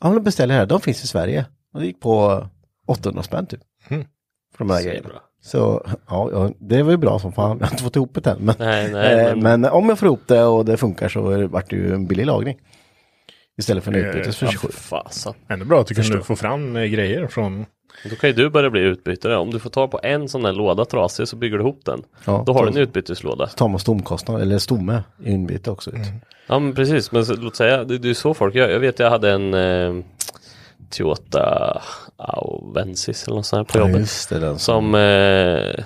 Ja, men då beställer jag det. De finns i Sverige. Och det gick på 800 spänn typ. För de här
Mm. det är
grejerna.
bra.
Så ja, ja, det var ju bra som fan. Jag har inte fått ihop det än. Men,
Nej, nej,
eh,
men-
men om jag får ihop det och det funkar så är det- vart det ju en billig lagring. Istället för en utbytes för
Ja,
27.
Fasen.
Ändå bra att du
Förstår.
kunde få fram eh, grejer från...
Då kan ju du börja bli utbytare. Om du får ta på en sån där låda trasig så bygger du ihop den.
Ja,
Då har du
så
en utbyteslåda.
Tar man stomkostnad, eller stomme, i inbyte också. Ut.
Ja men precis, men så- låt säga, det, det är så folk gör. Jag vet jag hade en eh, Toyota Avensis eller något sånt här på
Ja,
jobbet.
just det, den
Som, eh,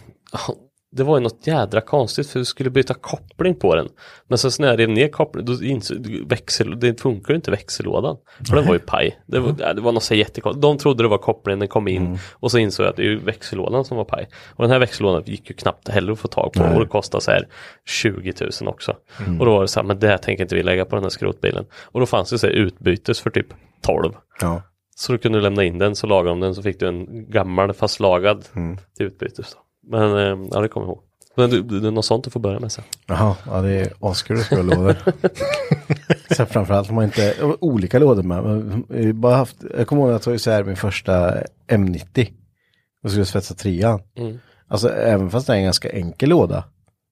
det var ju något jädra konstigt för du skulle byta koppling på den. Men sen när jag rev ner kopplingen, då insåg, växel, det funkar ju inte växellådan. För den var ju paj. Det var, ja, det var något så jättekonstigt. De trodde det var kopplingen, den kom in och så insåg jag att det är ju växellådan som var paj. Och den här växellådan gick ju knappt heller att få tag på och det kostade så här 20 000 också. Och då var det så här, men det här tänker inte vi lägga på den här skrotbilen. Och då fanns det så här utbytes för typ 12.
Ja.
Så du kunde lämna in den så lagade de den så fick du en gammal fast lagad
Mm.
till utbytes. då. Men eh, ja, det kommer jag ihåg. Men du, du, det är något sånt du får börja med sen.
Jaha, ja, det är askul att spela lådor. så framförallt om man inte, och olika lådor med. Men jag, har bara haft, jag kommer ihåg att jag tog isär min första M90 och skulle svetsa trean.
Mm.
Alltså även fast det är en ganska enkel låda.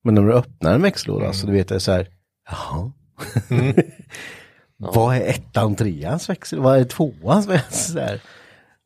Men när du öppnar en växellåda
Mm.
så du vet det är så här, jaha. Vad är ettan, treans växel? Vad är tvåans växel? Så här.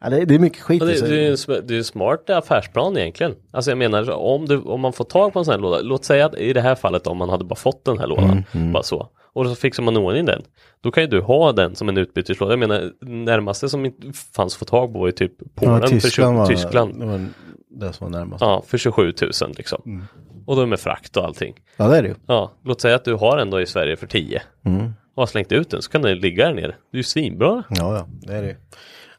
Ja, det, det är mycket skit.
Men
i
det,
sig.
det, är ju en sm- det är ju en smart affärsplan egentligen. Alltså jag menar om, du, om man får tag på en sån här låda. Låt säga att i det här fallet om man hade bara fått den här lådan.
Mm,
Bara så. Och så fixar man ordning den. Då kan ju du ha den som en utbyteslåda. Jag menar närmaste som inte fanns att få tag på var ju typ Polen.
ja, Tyskland,
för,
var,
tju- Tyskland.
Det, var en- det som var närmast. Ja,
Ja, för 27 000 liksom.
Mm.
Och då med frakt och allting.
det är det ju.
Ja, låt säga att du har en då i Sverige för 10
Mm.
och har slängt ut den så kan den ligga där nere. Det är ju svinbra.
Ja, ja, det är det ju.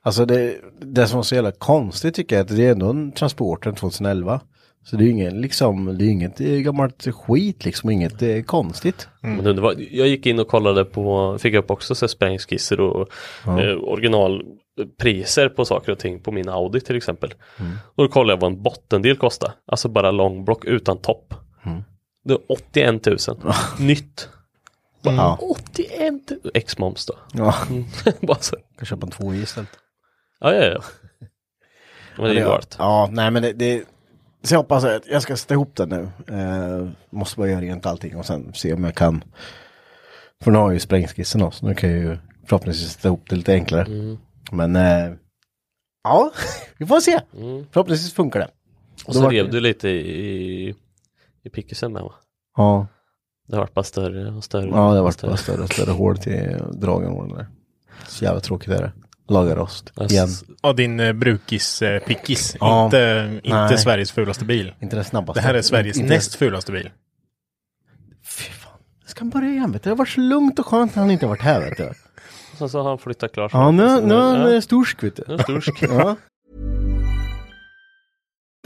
Alltså det, det som var så jävla konstigt tycker jag att det är ändå en transporten 2011. Så det är ju ingen, liksom, det är ju inget eh, gammalt skit liksom, inget eh, konstigt.
Men det var, jag gick in och kollade på, fick upp också så här sprängskisser och eh, originalpriser på saker och ting på min Audi till exempel.
Mm.
Och då kollade jag vad en bottendel kostade, alltså bara långblock utan topp.
Mm.
Det var 81 000, nytt. Mm.
Ja,
81 000, ex-moms då.
ja.
Bara så.
kan köpa en två i istället.
Ja, ja, ja. Men det är ju
ja,
galet.
ja, nej men det, det så jag hoppas att jag ska sätta ihop den nu. Eh, måste bara göra rent allting och sen se om jag kan. För nu har jag ju sprängskissen då, så nu kan jag ju förhoppningsvis sätta ihop det lite enklare.
Mm.
Men eh, ja, vi får se.
Mm.
Förhoppningsvis funkar det.
Och
Då
så
vart
rev
det-
du lite i, i, i pickisen med va?
Ja,
Det har varit bara större och större.
ja det har
och
varit bara större och större hål till dragen. och den där. Så jävla tråkigt är det. Laga rost
Ja, s-
igen.
Ja, din eh, brukis, eh, pickis.
Ja.
Inte,
Nej.
inte Sveriges fulaste bil.
Inte den snabbaste.
Det här är Sveriges
Inte-
näst fulaste bil.
Fy fan. Ska han börja igen vet du? Det har varit så lugnt och skönt när han inte har varit här vet du.
Och Sen så har han flyttat klart.
Ja nu, nu är han
Ja,
eh, storsk vet
nu
du.
är han storsk.
Ja.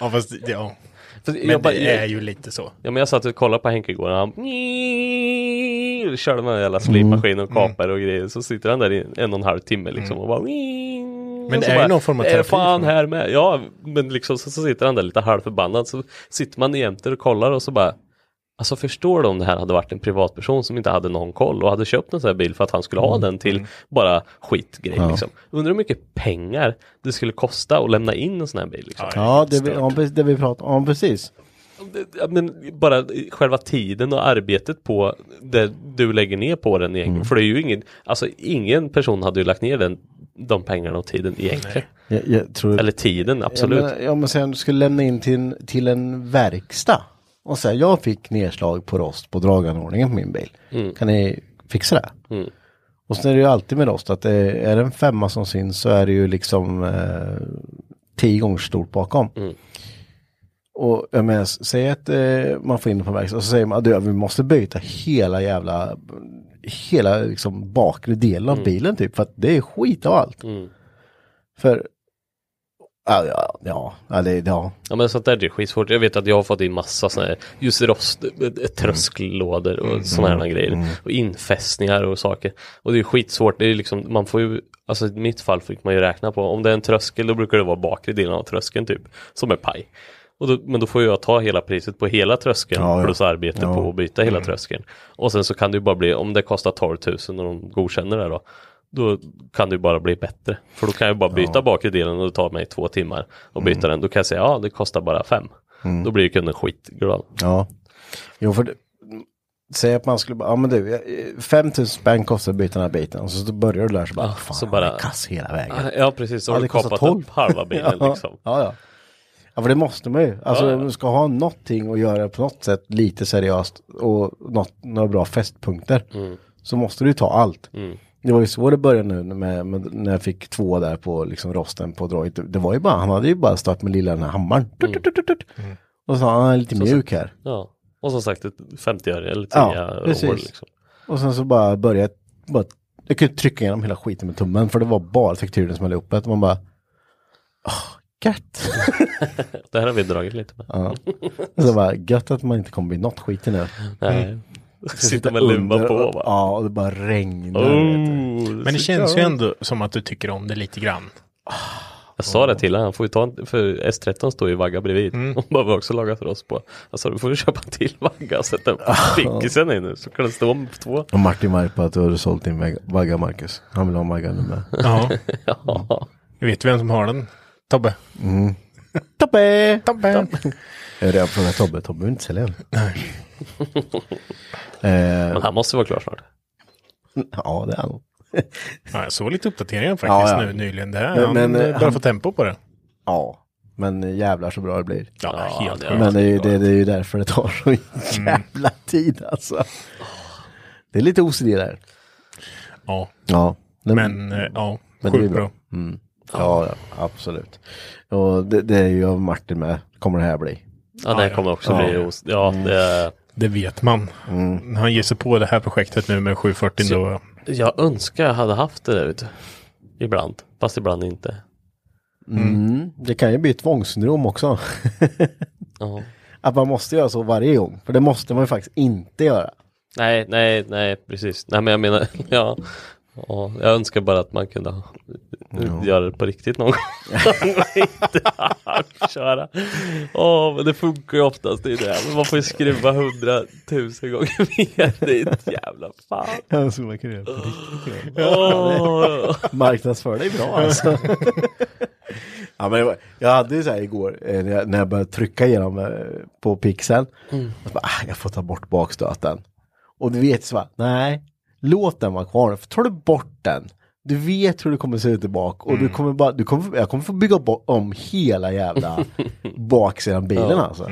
Ja, fast det- ja.
För jag,
Men
bara,
det är
jag,
ju lite så.
ja, men jag satt och kollade på Henke igår och han körde med en jävla slipmaskin
Mm.
och kapar och grejer. Så sitter han där i en och en halv timme liksom och bara
Men
och
det
så
är ju
bara,
någon form av
Är det
terapi
fan
för honom."
här med? Ja, men liksom så, så sitter han där lite halvförbannad. Så sitter man jämte och kollar och så bara Alltså förstår du om det här hade varit en privatperson som inte hade någon koll och hade köpt en sån här bil för att han skulle ha
Mm.
den till bara skitgrej liksom. Undrar hur mycket pengar det skulle kosta att lämna in en sån här bil liksom.
Ja, det vi, ja, precis, det vi pratade om, precis.
Det- ja, Men bara själva tiden och arbetet på det du lägger ner på den
Mm.
egentligen. För det är ju ingen, alltså ingen person hade ju lagt ner den, de pengarna och tiden egentligen.
Jag, jag tror...
Eller tiden, absolut.
Jag menar, om man säger att du skulle lämna in till, en- till en verkstad. Och så här, jag fick nedslag på rost på draganordningen på min bil. Kan ni fixa det? Och sen är det ju alltid med rost att eh, är det en femma som syns så är det ju liksom eh, tio gånger stort bakom. Och jag menar, säg att eh, man får in det på verkstad och så säger man att vi måste byta hela jävla, hela liksom bakre delen av bilen typ för att det är skit och allt. För, ja, ja, ja, ja, det, ja.
Ja men sånt där är skitsvårt. Jag vet att jag har fått in massa såna här just rost, eh,
Mm.
tröskellådor och såna här grejer. Och infästningar och saker. Och det är skitsvårt. Det är liksom, man får ju, alltså i mitt fall fick man ju räkna på. Om det är en tröskel då brukar det vara bakre delen av tröskeln typ. Som är paj. Och då, men då får jag ta hela priset på hela tröskeln
Ja, ja.
plus arbete
Ja. Mm.
på att byta hela tröskeln. Och sen så kan det ju bara bli, om det kostar 12 000 och de godkänner det då, då kan det ju bara bli bättre. För då kan jag bara byta bakre delen och det tar mig två timmar och byta
Mm.
den. Då kan jag säga, ja det kostar bara fem. Då blir ju kunden skitglad.
Ja. Jo, för det, säg att man skulle bara, ja men du, jag- 5000 spänn kostar att byta den här biten. Och så, så börjar du lära sig bara,
Ja,
fan,
så
så
bara-
bara kass hela vägen.
Ja precis, så
Ja,
har
det
du
kostar
kapat
12.
upp halva bilen
ja,
liksom.
Ja, ja. Ja, för det måste man ju. Alltså,
Ja, ja.
om du ska ha någonting att göra på något sätt lite seriöst och något, några bra fästpunkter
Mm.
så måste du ju ta allt. Det var ju så det började nu med, med, när jag fick två där på liksom rosten på draget. Det, det var ju bara, han hade ju bara startat med lilla den här hammaren.
Mm.
Tut, tut, tut, tut. Och så sa han, han är lite mjuk här.
Ja. Och som sagt ett 50 öre eller 10
Ja,
år.
precis.
Liksom.
Och sen så bara började jag, bara, jag kunde trycka igenom hela skiten med tummen för det var bara tekturen som höll ihop det. Man bara, åh, gött.
Det här har vi dragit lite med.
Ja. Och så bara, gött att man inte kommer bli något skit i nu.
Nej. Sitta med luva
Under-
på bara.
Ja, och det bara regnar. vet du.
Oh,
Men det känns ju ändå som att du tycker om det lite grann.
Jag sa det till honom, han får ju ta en, för S13 står ju vagga bredvid. Hon behöver också laga för oss på. Jag sa du får ju köpa en till vagga och sätta på fickisen i nu så kan den stå om på två.
Och Martin var arg på att du hade sålt din väg- vagga Marcus. Han vill ha en vagga nu med.
Ja,
Ja.
jag vet vem som har den. Tobbe.
Mm. Tobbe!
Tobbe.
Jag är rädd för att Tobbe, Tobbe vill inte sälja den. eh,
Men han måste vara klar snart.
ja, det är han.
Ja, jag såg lite uppdateringar faktiskt
Ja, ja.
nu nyligen. Det här,
Men-
han
men, eh,
börjar
han-
få tempo på det.
Ja, men jävlar så bra det blir.
Ja,
Ja,
helt
det- Mm.
sjukt.
Men det är, ju, det, det är ju därför det tar så jävla tid alltså. Det är lite OCD där.
Ja,
Ja. Nej,
men eh, ja,
Mm. Men det är
sjukt bra.
bra. Mm. Ja, ja, absolut. Och det, det är ju av Martin med, kommer det här bli.
Ja, det här kommer också bli os- Ja, Mm. det,
Det vet man.
Mm.
När han ger sig på det här projektet nu med 740 då.
jag önskar jag hade haft det där ute. Ibland, fast ibland inte.
Mm. Det kan ju bli ett tvångssyndrom också.
Ja.
Att man måste göra så varje gång. För det måste man ju faktiskt inte göra.
Nej, nej, nej, precis. Nej, men jag menar, ja. ja jag önskar bara att man kunde ha- göra det på riktigt någon gång. Inte köra. Ja, men det funkar ju oftast i det. Men man får ju skruva hundratusen gånger mer. Det är ett jävla fan.
Ja, så man kan göra på riktigt.
Åh.
Marknadsför dig bra alltså. ja, men det var, jag hade ju så här igår eh, när jag, när jag började trycka igenom eh, på pixeln. Och så bara, ah, jag får ta bort bakstöten. Och du vet så bara, nej, låt den vara kvar. För tar du bort den, du vet hur det kommer se ut tillbaka. Och du kommer bara, du kommer, jag kommer få bygga bo- om hela jävla baksidan av bilen alltså.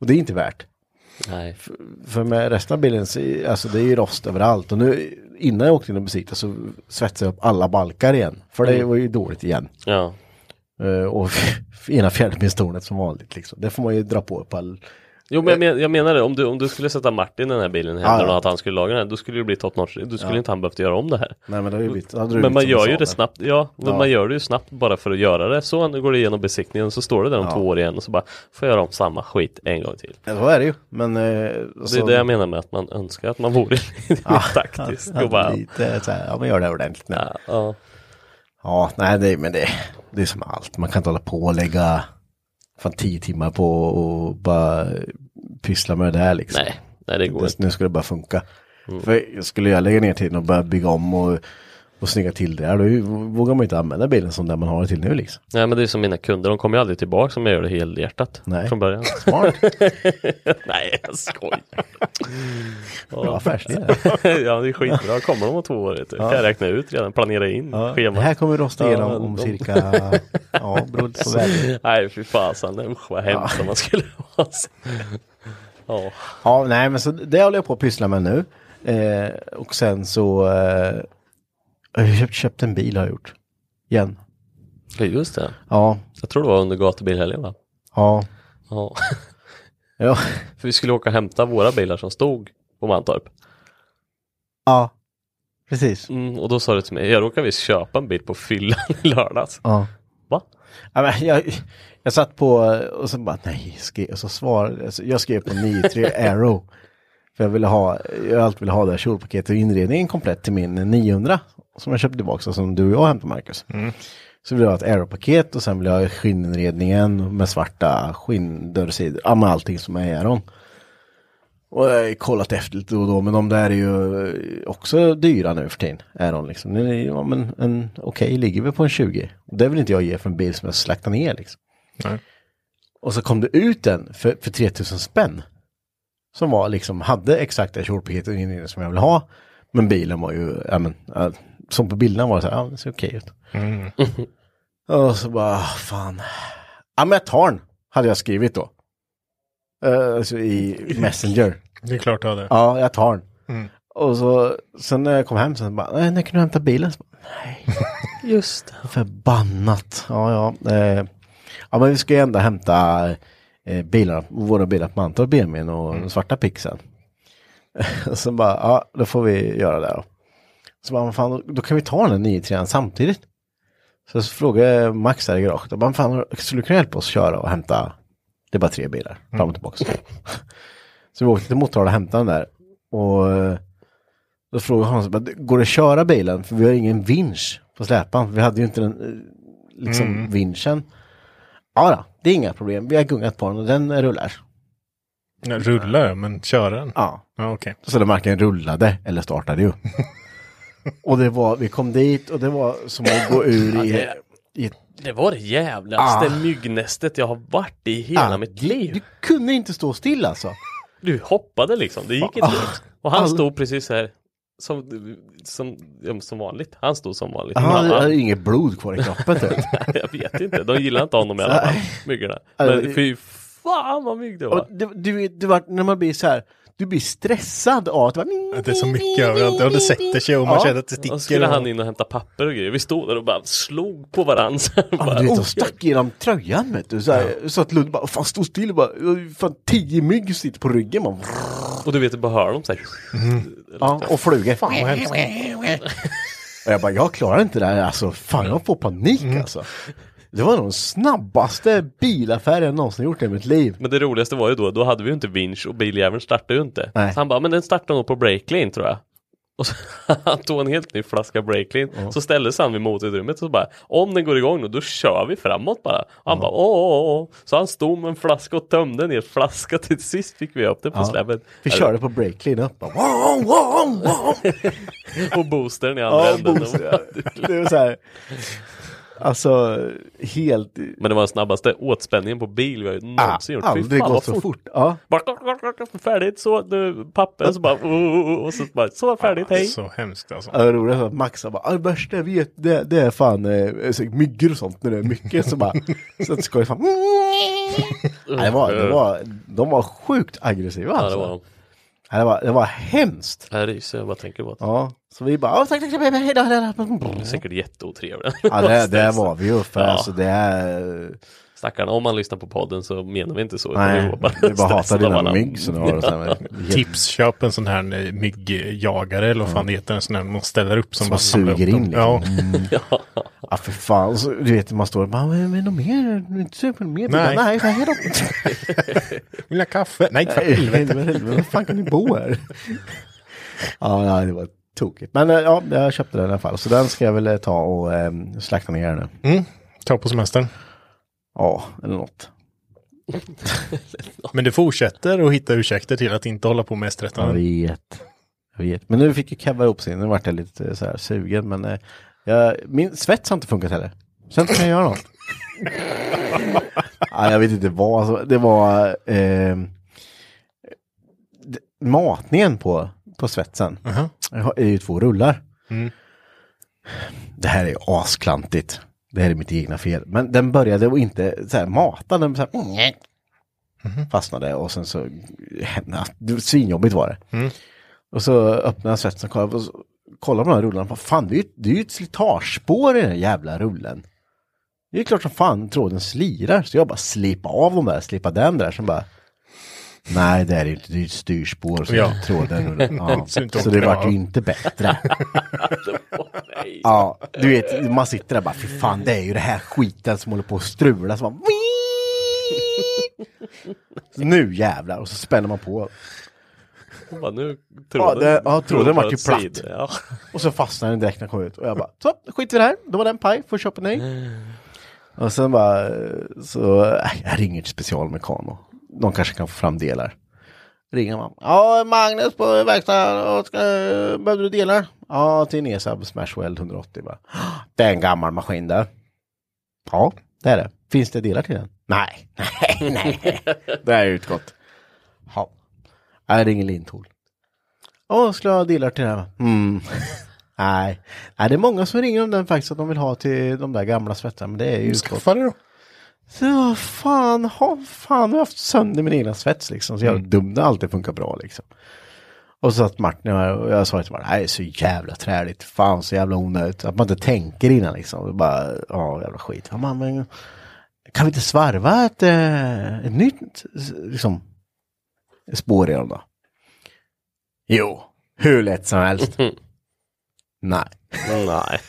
Och det är inte värt.
Nej,
För med resten av bilen, så, är- alltså det är ju rost överallt. Och nu innan jag åkte in och besiktade så svetsade jag upp alla balkar igen. För det var ju dåligt igen.
ja.
Eh, och ena fjärdebenstornet som vanligt liksom. Det får man ju dra på på all...
Jo men jag, men jag menar det, om du, om du skulle sätta Martin i den här bilen i
Ja,
händerna
ja.
och att han skulle laga den, här, då skulle det bli top notch. Då skulle inte han behövt göra om det här.
Nej men det har ju blivit... hade
Men
blivit
man
som
gör
du
ju
sa där.
det snabbt, ja, men
Ja.
man gör det ju snabbt bara för att göra det. Så nu går det igenom besiktningen så står det där om
Ja.
två år igen och så bara får jag göra om samma skit en gång till.
Ja, så är det ju. Men... eh,
Det
så-
är det jag menar med att man önskar att man vore lite mer taktisk.
Ja,
Och bara,
Lite så här, ja men gör det ordentligt nu. Ja,
ja, ja.
nej det, men det, det är som allt. Man kan inte hålla på och lägga fan tio timmar på och bara pyssla med det där liksom.
Nej, nej det Mm. går
Det,
inte.
nu skulle det bara funka. För skulle jag lägga ner tiden och börja bygga om och, och snygga till det här, då är ju- vågar man ju inte använda bilen som den man har det till nu liksom.
Nej men det är som mina kunder, de kommer ju aldrig tillbaka om jag gör det helhjärtat
Nej.
från början.
Smart,
nej, jag skojar.
bra affärsidé.
Mm.
det här.
ja, det är skitbra. Kommer de om två år, vet du. kan jag räkna ut redan, planera in
Det
schemat.
här kommer rosta igenom
Ja,
om
de-
cirka, ja beroende på vädret.
Nej fy fasen, usch vad hemskt om man skulle vara så. Ja.
Ja, nej, men så det håller jag på att pyssla med nu. Eh, och sen så... Eh, jag har köpt, köpt en bil har jag gjort. Igen.
Ja, just det.
Ja,
Jag tror det var under gatubilhelgen va?
ja,
Ja.
ja.
För vi skulle åka och hämta våra bilar som stod på Mantorp.
Ja, precis.
Mm, och då sa du till mig, jag råkade visst köpa en bil på fyllan i lördags.
Ja.
Va?
Ja, men jag, jag satt på och så bara nej, skrev, och så svarade jag. så jag skrev på 93 Arrow. För jag ville ha, jag har alltid ville ha det här kjolpaketet och inredningen komplett till min 900. Som jag köpte tillbaka, som du och jag hämtade Marcus. Så ville jag ha ett Arrow-paket och sen ville jag ha skinninredningen med svarta skinndörrsidor. Ja, med allting som är Aeron. Och jag har kollat efter lite då och då, men de där är ju eh, också dyra nu för tiden. Är de liksom. Den är, ja, men en okej ligger väl på en 20. Och det vill inte jag ge för en bil som jag slaktar ner liksom.
Nej.
Och så kom det ut den för, för 3000 spänn. Som var liksom, hade exakt det kjolpaketet in i det som jag ville ha. Men bilen var ju, ja men, ja, som på bilderna var det så här, ja den ser okej ut. Och så bara, ah, fan. Ja men jag tar den, hade jag skrivit då. Eh, alltså i Messenger.
Det är klart du hade.
Ja, jag tar den.
Mm.
Och så, sen när jag kom hem sen bara, nej, när kan du hämta bilen? Så bara,
Just det.
Förbannat. Ja, ja. Eh, ja, men vi ska ju ändå hämta eh, bilarna, våra bilar på Mantorp, BMWn och
Mm.
den svarta pixeln. och sen bara, ja, då får vi göra det då. Så bara, men fan, då- då kan vi ta den 93 samtidigt. Så, så frågade jag Max där i garaget, och bara, men fan, skulle du kunna hjälpa oss köra och hämta, det är bara tre bilar, fram och tillbaka. så vi åkte till Motala och hämtade den där. Och eh, då frågade han, så bara, går det att köra bilen? För vi har ingen vinsch på släpan. Vi hade ju inte den eh, liksom, vinschen. Ja, då, det är inga problem. Vi har gungat på den och den rullar.
Ja, Rullar men köra den.
Ja.
Ja, okej.
Så den varken rullade eller startade ju. och det var, vi kom dit och det var som att gå ur i... i
Det var det jävlaste
Ah.
myggnästet jag har varit i hela
Ah,
mitt
du
liv.
kunde inte stå still alltså.
Du hoppade liksom, det gick inte. Och han
Ah. All-
stod precis här. Som, som, ja, men som vanligt. Han stod som vanligt.
Han
Han-
hade, hade
han-
inget blod kvar i kroppen. typ.
jag vet inte, de gillar inte honom i alla fall, myggorna. Men
Alltså,
fy fan vad mygg det
och
var.
du, du, du var, när man blir så här, du blir stressad av att det var...
Ja, Det är så mycket överallt. Ja, det sätter sig och man
Ja.
känner att det
Och så skulle
sticker.
han in och hämta papper och grejer. Vi stod där och bara slog på varandra.
Ja,
bara,
du vet, de
"Oh,
stack genom tröjan vet du. Så, här, så att Lund bara, fan stå still bara, fan tio mygg sitter på ryggen man.
Och du vet, du bara hör dem så här.
Ja, och flugor.
vad hemskt.
och jag bara, jag klarar inte det här alltså, fan jag får panik
Mm.
alltså. Det var nog den snabbaste bilaffär jag någonsin gjort i mitt liv.
Men det roligaste var ju då, då hade vi ju inte vinsch och biljäveln startade ju inte.
Nej.
Så han bara, men den startar nog på Breaklean tror jag. Och så, han tog en helt ny flaska Breaklean, så ställde sig han vid motorutrymmet och så bara, om den går igång nu, då kör vi framåt bara. Och han bara, åh, åh, åh. Så han stod med en flaska och tömde ner flaskan till sist fick vi upp den på släpet.
Vi körde på breakclean upp. Bara, wow, wow, wow.
Och boostern i andra
ja,
änden.
bostad. Det var så här. Alltså, helt...
Men det var den snabbaste åtspänningen på bil vi har ju
Ah,
någonsin gjort. Fy
aldrig
fan,
gått
vad
så fort. Ja.
Bara, färdigt, så, nu, papper, så bara, oh, oh, oh, och så bara, så färdigt, hej.
Så hemskt alltså.
Ja, det roliga var att Max han bara, "Ah, det värsta jag vet det, det är fan eh, så, myggor och sånt när det är mycket. Så bara, så att skojar fan. Nej, det var, det var, de var sjukt aggressiva
Ja, det
alltså.
var de.
Nej, det, var, det var hemskt.
Jag ryser, jag bara tänker på det.
Ja, så vi bara, "Åh, tack, tack, tack, hej då, hej då, hej då.
Det är säkert jätteotrevligt.
Ja, det, det var vi ju för
Ja.
alltså det är...
Stackarna, om man lyssnar på podden så menar vi inte så. utan
Nej,
var
vi bara hatar
stressade av
dina
alla-
mygg så det var det så här, helt-
Tips, köp en sån här eh, myggjagare eller vad fan det heter. En sån här man ställer upp som,
Som
bara samlar
suger
upp
in, liksom. Mm.
dem. Ja,
Ja, för fan. Så, du vet, man står och bara, men men något mer? Du är inte sugen på något mer?
Nej.
Nej, nej, hej då.
vill jag ha kaffe? Nej, för
Nej,
helvete.
helvete, helvete, Var fan kan ni bo här? ja, nej, det var tokigt. Men eh, ja, jag köpte den i alla fall. Så den ska jag väl eh, ta och eh, slakta ner nu.
Ta på semestern.
Ja, eller något.
Men du fortsätter att hitta ursäkter till att inte hålla på med
Jag
S13.
vet. Jag vet. Men nu fick ju Kevva ihop sin. Nu vart jag lite eh, så här sugen. Men eh, jag, min svets har inte funkat heller. Så jag inte kan jag göra något. ja, jag vet inte vad. Alltså, det var eh, d- matningen på, på svetsen. Jag har- är ju två rullar. Det här är ju asklantigt. Det här är mitt egna fel. Men den började och inte så här, mata. Den så här, Fastnade och sen så hände det. var Svinjobbigt var det.
Mm.
Och så öppnade jag svetsen och kollade, och så kollade på den här rullen. Vad fan, det är ju det är ju ett slitagespår i den här jävla rullen. Det är klart som fan tråden slirar. Så jag bara slipa av dem där, slipa den där. Sen bara, nej det är det inte, det är ett styrspår. Så
Ja.
tråden rullar. Ja.
Så inte
Så det
åkte
vart
av.
ju inte bättre. Ja, du vet, man sitter där bara, fy fan, det är ju det här skiten som håller på att strula. Så man, Så nu jävlar, och så spänner man på.
Och bara, nu tråden,
det- ja, tråden vart ju
åt
platt.
sidan, Ja.
Och så fastnar den direkt när den kommer ut. Och jag bara, så, skit i det här, då var den paj, får köpa en ny. Och sen bara, så, äh, jag ringer till specialmekano. De kanske kan få fram delar. Ringer man. Ja, Magnus på verkstaden, och ska, behöver du delar? Ja, till en ESAB Smashwell 180 bara. Det är en gammal maskin där. Ja, det är det. Finns det delar till den? Nej, nej, nej. Det är utgått. Ja. Jag ringer Lindhol. Åh, skulle jag ha delar till den här? Mm. Nej. Nej, det är många som ringer om den faktiskt, att de vill ha till de där gamla svetsarna, men det är ju utgått.
Skaffa det då.
Så vad fan, ha, fan, jag har haft sönder min egna svets liksom. Så jävla dum, det har alltid funkat bra liksom. Och så att Martin och jag, och jag sa till Martin, det här är så jävla träligt, fan så jävla onödigt. Att man inte tänker innan liksom. Det bara, ja jävla skit. Ja, man, men, kan vi inte svarva ett, eh, ett nytt s- liksom, spår i dem då? Jo, hur lätt som helst. Nej.
Nej,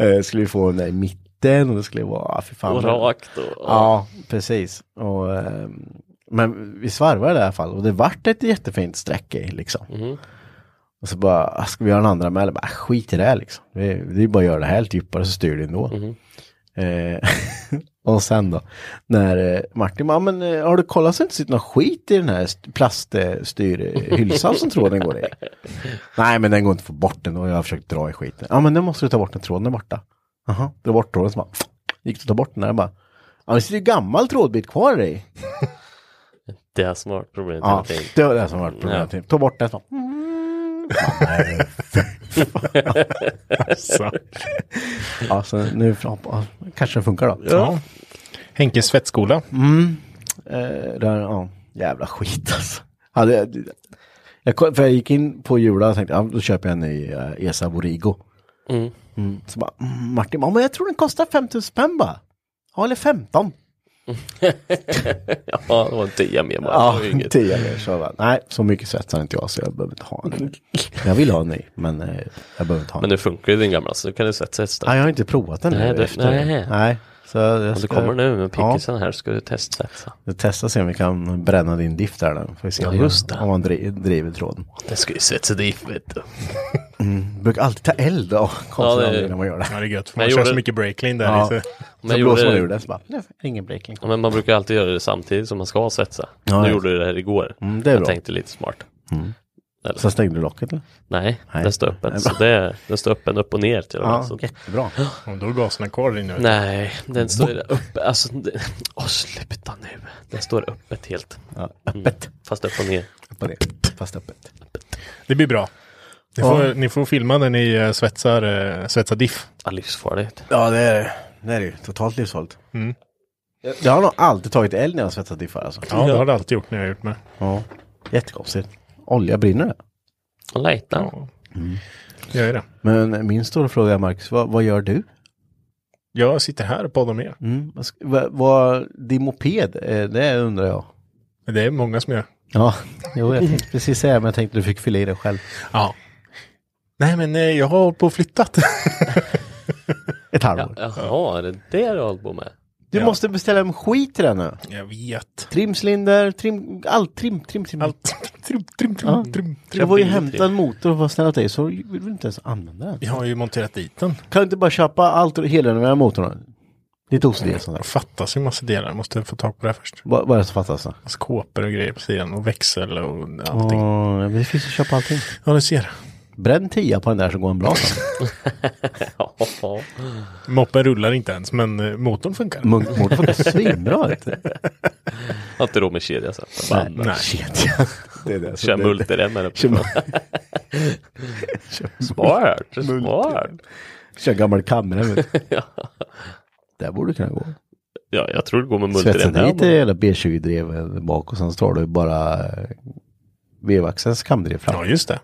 Eh, skulle vi få den där i mitten och det skulle vara, ah, fy fan.
och rakt och...
Ja, precis. Och, ehm, men vi svarvade i alla fall och det vart ett jättefint streck i liksom. Och så bara, "Ah, ska vi göra en andra med? Eller bara, "Ah, skit i det här, liksom. Det är, det är bara att göra det här lite djupare så styr det ändå. Eh, och sen då, när eh, Martin bara, men eh, har du kollat så det inte sitter någon skit i den här st- plaststyrhylsan som tråden går i? Nej, men den går inte att få bort den och jag har försökt dra i skiten. Ja, men nu måste du ta bort den, tråden är borta. Jaha, dra bort tråden så bara, gick det att ta bort den där bara, ja, det sitter ju gammal trådbit kvar i.
Det är smart problem.
Ja,
tänker jag.
det var det som var problemet. Typ. Ta bort den så.
Så.
Ja, så nu ja, kanske det funkar då.
Ja. Henkes svettskola.
Eh, där, ja, jävla skit alltså. Hade, jag, jag, kom- för jag gick in på Jula och tänkte, ja, då köper jag en ny eh, ESA Borigo. Mm, så bara, mm, Martin, ja, men jag tror den kostar 5000 spänn bara. Ja, eller 15.
Ja, det var en tia med bara. Det
Ja,
var ju inget.
10 eller så. bara, Nej, så mycket svetsar inte jag så jag behöver inte ha en. ny. Jag vill ha en ny, men eh, jag behöver inte ha en.
Men nu funkar ju din gamla så du kan ju svetsa ett
Ja,
snabbt.
jag har inte provat den
Nej,
nu
det-
efter.
nej.
nej. Så jag
Om du
ska-
kommer nu med
Ja.
pickisen här ska du testsvetsa.
Jag testar se om vi kan bränna din diff där nu. Får vi se
Ja,
om,
just det.
om man dri driver tråden.
Det ska ju svetsa dit vet du.
Jag brukar alltid ta eld av
Ja, det-
konstiga ja, när man gör det.
Ja, det är gött. för
Men
Man
jag
kör
gjorde-
så mycket breakline där.
Ja.
i, så-
så
jag
blåser
gjorde-
man ur det så bara, "Nu, ingen breaking.
Ja, men man brukar alltid göra det samtidigt som man ska svetsa.
Ja,
nu
ja.
gjorde du det här igår.
Mm, det är
jag
bra.
tänkte lite smart.
Sen stängde du locket eller?
Nej,
Nej.
den står öppen.
Nej,
så
bra.
det, den står öppen upp och ner till och med.
Ja,
så.
jättebra.
Och då är gaserna kvar inne.
Nej, den står ju där uppe. Alltså, det... Åh, sluta nu. Den står öppet helt.
Ja, öppet.
Fast upp och ner.
Upp och ner. Fast öppet.
Det blir bra. Ni
Ja.
får, ni får filma när ni eh, svetsar, eh, svetsar diff.
Ja, livsfarligt.
Ja, det är det. Det är det ju. Totalt livsfarligt. Jag, jag har nog alltid tagit eld när jag har svettat diffar alltså.
Ja, det har det alltid gjort när jag har gjort med.
Ja. Jättekonstigt. Olja brinner det?
Och lajta.
Jag gör det.
Men min stora fråga är Marcus, vad, vad gör du?
Jag sitter här och poddar med er.
Mm. vad sk- Vad, vad, din moped, eh, det undrar jag.
Det är många som gör.
Ja, jo, jag tänkte precis säga, men jag tänkte du fick fylla i det själv.
Ja. Nej, men eh, jag har hållit på och flyttat.
Ett halvår.
Jaha, är det det du har hållit på med?
Du
Ja.
måste beställa en skit till den nu.
jag vet.
Trimslinder, trim, allt trim, trim, trim.
Allt. Trim, trim, trim,
Ja.
trim,
Jag
trim.
var ju och hämtade en motor och var snäll åt dig så vill du inte ens använda den.
Jag har ju monterat dit den.
Kan du inte bara köpa allt och helrenovera motorn? Lite OCD och sånt
Det
där.
fattas ju massa delar. Jag måste få tag på det här först.
Vad vad är det som fattas då?
Massa kåpor och grejer på sidan och växel och allting.
Åh, men det finns ju att köpa allting.
Ja, du ser.
Bränn tia på den där så går en bra sen.
Ja,
Moppen rullar inte ens, men eh, motorn funkar.
Munkmotorn funkar svinbra. vet du.
Jag har inte råd med kedja sen. Bara,
Nej.
Kedja. Det är det.
Kör multiremmar uppifrån. Smart, smart.
Kör gammal kamera. vet du. Där borde det kunna gå.
Ja, jag tror det går med
Svetsa
multirem
dit det
här.
jävla B20-drev bak och sen står du bara eh, vevaxens kamdrev fram.
Ja, just det.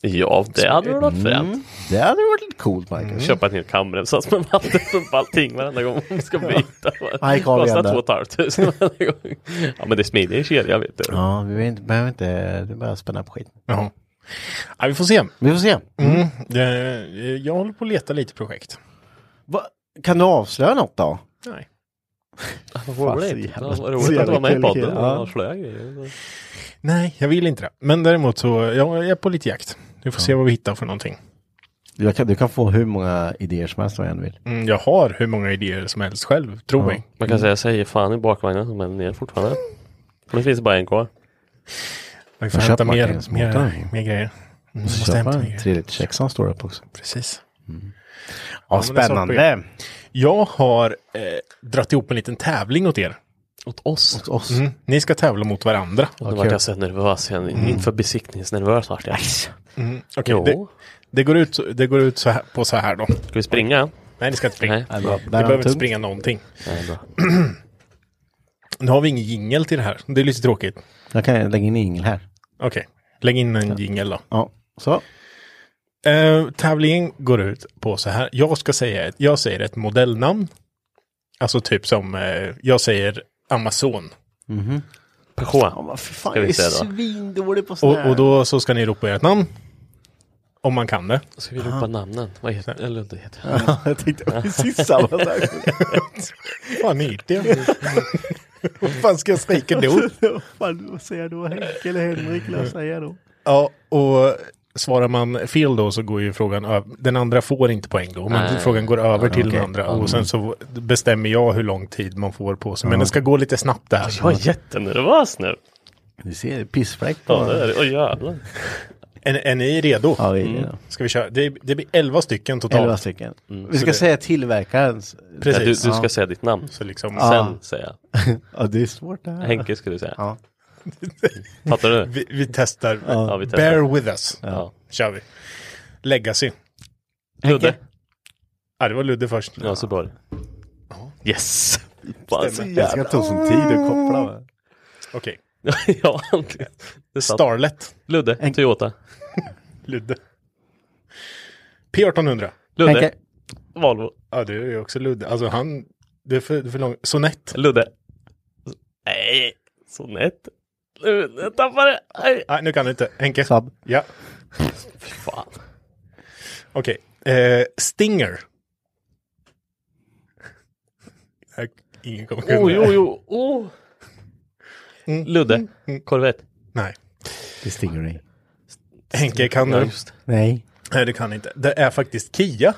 Ja, det Mm. hade väl
Mm.
varit fränt.
Det hade varit lite coolt Marcus.
Köpa en hel kamremsats med vattenpump och allting varenda gång man ska byta.
Nej, Carl,
Kostar
igen där.
två och ett halvt tusen varenda gång. Ja men det är smidigare kedja vet du.
Ja, vi behöver inte, behöver inte det är bara att spänna på skiten.
Ja. ja, vi får se.
Vi får se.
Mm. Det, jag håller på att leta lite projekt.
Va, kan du avslöja något då?
Nej.
Vad
så
roligt.
jävla-
Ja, Vad
så
roligt att
jävla
vara med i
kul
podden.
kille.
Ja.
Ja.
avslöja grejer.
Nej, jag vill inte det. Men däremot så, ja, jag är på lite jakt. Vi får se vad vi hittar för någonting.
Du kan, du kan få hur många idéer som helst om jag vill.
Mm, jag har hur många idéer som helst själv, tro mig.
Man kan säga säger fan i bakvagnen men ner fortfarande. Men det finns bara en kvar.
Vi får
Jag
hämta
köper
mer,
Martins
mer,
motor.
mer grejer. Mm,
Och så
måste
köpa
hämta
en
mer.
3 liter sexan står det på också.
Precis.
Ja,
men det är
spännande.
Jag har eh, dratt ihop en liten tävling åt er.
Åt oss.
Åt oss.
Mm. Ni ska tävla mot varandra.
Och nu vart jag så nervös igen.
Mm.
Inför besiktningsnervös vart jag. Ska
Okej,
Jo.
det, det går ut, det går ut så här, på så här då.
vi springa?
Nej, ni ska inte springa.
Nej.
Ja, bra. Där
Ni
har
behöver inte
tungt.
springa någonting.
Nej, bra.
Nu har vi ingen jingel till det här. Det är lite tråkigt.
Jag kan lägga in en jingel här.
Okej, lägg in en jingel då.
Ja, så.
Eh, tävlingen går ut på så här. Jag ska säga ett, jag säger ett modellnamn. Alltså typ som, eh, jag säger Amazon.
Peugeot.
vad fan,
Ska vi jag är säga då?
svindålig på
Och, och då så ska ni ropa ert namn. Om man kan det.
Ska vi ropa namnen? Vad heter Eller det heter
jag tänkte precis samma sak.
Fan, är det? Vad fan ska jag skrika då?
fan, vad säger då Henke eller Henrik? Eller vad säger jag då?
Ja, och svarar man fel då så går ju frågan över. Den andra får inte poäng då. Men
Nej.
frågan går över till
okej.
den andra. Och sen så bestämmer jag hur lång tid man får på sig. Men det ska gå lite snabbt där.
Jag är jättenervös nu.
Du ser, pissfläck på
Ja,
ja,
det är det. Åh jävlar.
Är, är ni redo?
ja, vi är det.
Ska vi köra? Det, det blir 11 stycken totalt.
Elva stycken. Vi ska säga tillverkarens.
Ja, Du, du
Precis.
ska säga ditt namn.
Så liksom,
Sen säga.
Ja, det är svårt det här.
Henke ska du säga.
Ja.
Fattar du?
vi, vi testar.
Ja, vi testar.
Bear with us.
Ja.
Kör vi. Legacy.
Ludde.
Ja, det var Ludde först.
Ja, så bra det. Yes! Fan,
Jag älskar att det tog sån tid att koppla. va?
Okej.
ja, det satt.
Starlet.
Ludde, Toyota.
Ludde. P1800.
Ludde,
Henke.
Volvo.
Ja, det är ju också Ludde. Alltså han... Det är för, det är för långt. Sonett.
Ludde. Nej, Sonett. Nu, jag tappar det. Nej.
Nej, nu kan du inte. Henke.
Saab.
Ja.
Fan.
Okej. Eh, Stinger. Jag- Ingen kommer kunna.
Oh, jo, jo, oh. Ludde, Corvette.
Nej.
Det är Stingray.
Henke, kan
Ja,
du?
just det.
Nej.
Nej, det kan inte. Det är faktiskt Kia.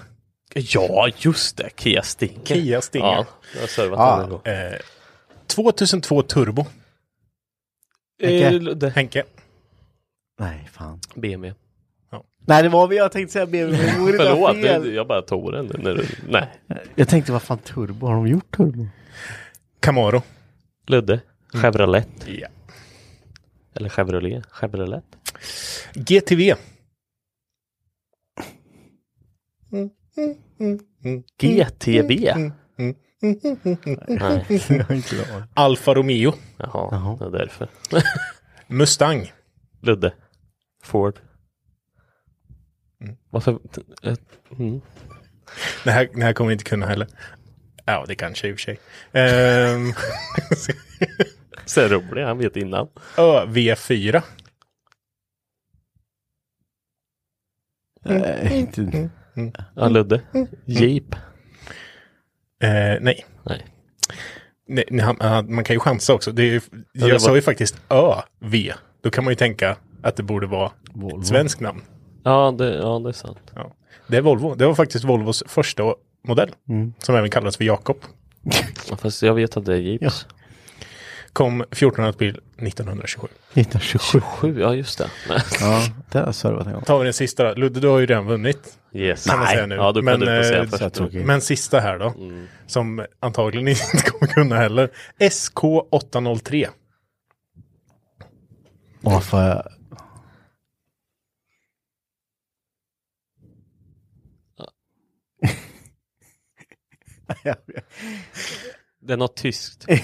Ja, just det. Kia Stinger.
Kia Stinger.
Ja, jag har servat
Ja.
den en gång.
Eh, 2002 Turbo.
Eh, Ludde,
Henke.
Nej, fan.
BMW.
Nej, det var vi. Jag tänkte säga BMW. men det vore inte
Förlåt,
fel.
du, jag bara tog den. När du, nej.
Jag tänkte, vad fan turbo? Har de gjort turbo?
Camaro.
Ludde,
Mm.
Chevrolet.
Ja.
Eller Chevrolet. Chevrolet.
Mm. GTV.
GTB.
Mm.
Nej,
Alfa Romeo.
jaha, det är därför.
Mustang.
Ludde. Ford.
Mm.
Varför? eh, Mm.
Det här, det här kommer vi inte kunna heller. Ja, det kanske i och för sig. Ehm,
Så är det rolig, han vet innan.
ÖV4.
Nej, inte.
Mm.
Ja, Ludde. Jeep.
Eh, nej.
Nej.
nej nej, han, han, man kan ju chansa också. Det är, ju- jag
det var-
sa ju faktiskt ÖV. Då kan man ju tänka att det borde vara ett svenskt namn.
Ja det, ja, det är sant.
Ja. Det är Volvo. Det var faktiskt Volvos första modell.
Mm.
Som även kallas för Jakob.
Ja, Fast jag vet att det är Jeeps.
Kom 14 april 1927.
1927.
Sju, ja just det.
Ja, det har jag servat en gång.
Tar vi den sista då. Ludde, du har ju redan vunnit.
Yes.
Kan man säga nu.
Ja, då kan
Men,
du inte säga
eh,
först.
så här tråkigt.
Men sista här då. Som antagligen inte kommer kunna heller. SK803.
Åh, får jag...
Det är något tyskt.
Eh.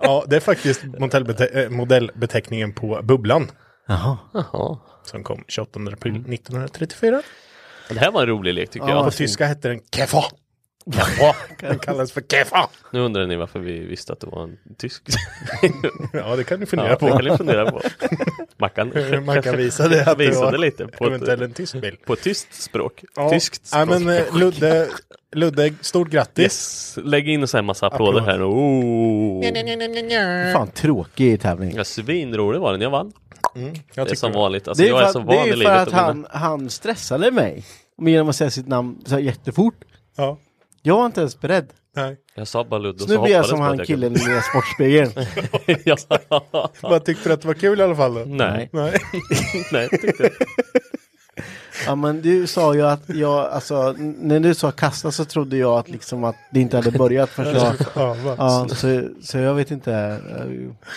Ja, det är faktiskt modellbete- eh, modellbeteckningen på Bubblan
Jaha.
Jaha.
som kom 28 april
Mm.
1934.
Det här var en rolig lek tycker
På
jag.
tyska hette den Kefa. Kefa. Den kallas för Kefa.
Nu undrar ni varför vi visste att det var en tysk.
Ja, det kan du fundera
ja,
på.
det kan ni fundera på. Mackan
Man kan visa det. Att
Visa
det, var
det lite på
Eventuellt en
ett,
tysk bil.
på ett tyskt språk.
Ja.
Tyskt
Ja,
språk.
men eh, Ludde, Ludde, stort grattis.
yes. Lägg in en sån här massa applåder här. Oh.
Fan tråkig tävling.
Ja, svinrolig var den, jag vann.
Jag
Det är
tycker
som
det.
vanligt. Alltså, jag
för
är
att-
som
det
van i
är för
livet.
att
att vinna.
han, han stressade mig. Men Genom att säga sitt namn så här jättefort.
Ja,
Jag var inte ens beredd.
nej.
Jag sa bara Ludde och
Så nu
så
blir jag
hoppades
som
på att
han
jag
killen i Lilla Sportspegeln.
kunde- ja.
Vad tyckte du att det var kul i alla fall? Då?
Nej,
Nej.
nej, tyckte jag.
Ja men du sa ju att jag, alltså n- när du sa kasta så trodde jag att liksom att det inte hade börjat först. Jag,
Ja, va.
ja, så, så jag vet inte. eh,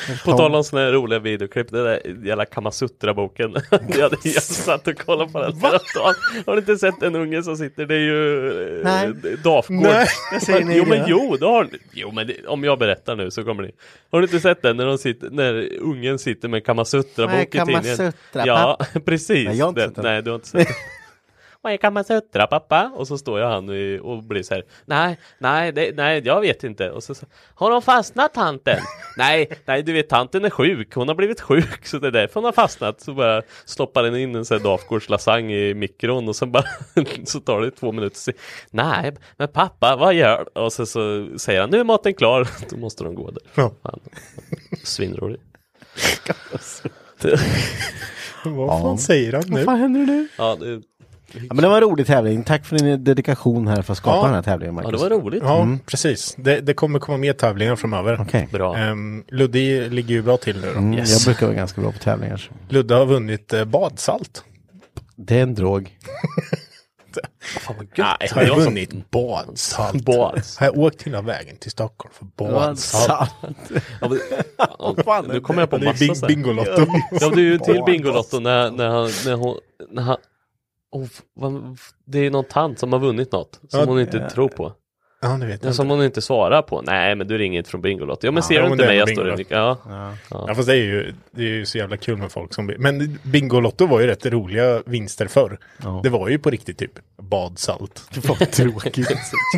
kanske
På
Tom-
tal om sådana här roliga videoklipp, den där jävla Kamasutra-boken. jag, jag satt och kollade på den häromdagen. Har du inte sett en unge som sitter? Det är ju eh,
Nej.
D- Dafgård.
Nej. Jag säger nej
jo
det,
men
va?
jo, det har Jo men det, om jag berättar nu så kommer ni. Har du inte sett den när, de sitter, när ungen sitter med
Nej,
Kamasutra-bok i tidningen?
Kamasutra,
Ja, precis.
Nej, jag har inte
Den-
sett den.
Nej, du har inte sett den. Vad är Kamasutra pappa? Och så står jag han i- och blir så här. Nej, nej, det, nej, jag vet inte. Och så, så har hon fastnat tanten? nej, nej, du vet tanten är sjuk. Hon har blivit sjuk så det är därför hon har fastnat. Så bara stoppar den in en sån här Dafgårds lasagne i mikron och sen bara så tar det två minuter. Så, nej, men pappa, vad gör du?" Och så, så säger han nu är maten klar. Då måste de gå där.
Ja.
Fan. Svinrolig.
Vad fan säger han nu?
Vad fan händer nu?
Ja, det,
Ja, men det var en rolig tävling. Tack för din dedikation här för att skapa
Ja.
den här tävlingen
ja,
Marcus.
det var roligt.
Ja, precis. Det, det kommer komma mer tävlingar framöver.
Mm. Okej.
Bra.
Ehm, Ludde ligger ju bra till nu då.
Mm,
Yes.
Jag brukar vara ganska bra på tävlingar. så.
Ludde har vunnit eh, badsalt.
Det är en drog.
Fan vad gött.
Nej, har jag vunnit badsalt?
Bads.
Har jag åkt hela vägen till Stockholm för badsalt?
Ja, men, ja, nu kommer jag på
Det är
massa så
bing,
här.
Bingolotto.
Ja, det är ju en till Bingolotto när, när han, när hon, när han oh, vad, det är ju någon tant som har vunnit något som
Ja,
hon inte tror på.
Ja, det vet
Ja,
jag.
som hon inte svarar på. Nej, men du ringer inte från Bingolotto. Ja, men ser
ja,
du
men
inte
det är
mig? Jag
väl
står där.
Bingolotto.
Ja.
Ja, fast det är, ju, det är ju så jävla kul med folk som... Men Bingolotto var ju rätt roliga vinster förr. Det var ju på riktigt typ badsalt.
Vad tråkigt.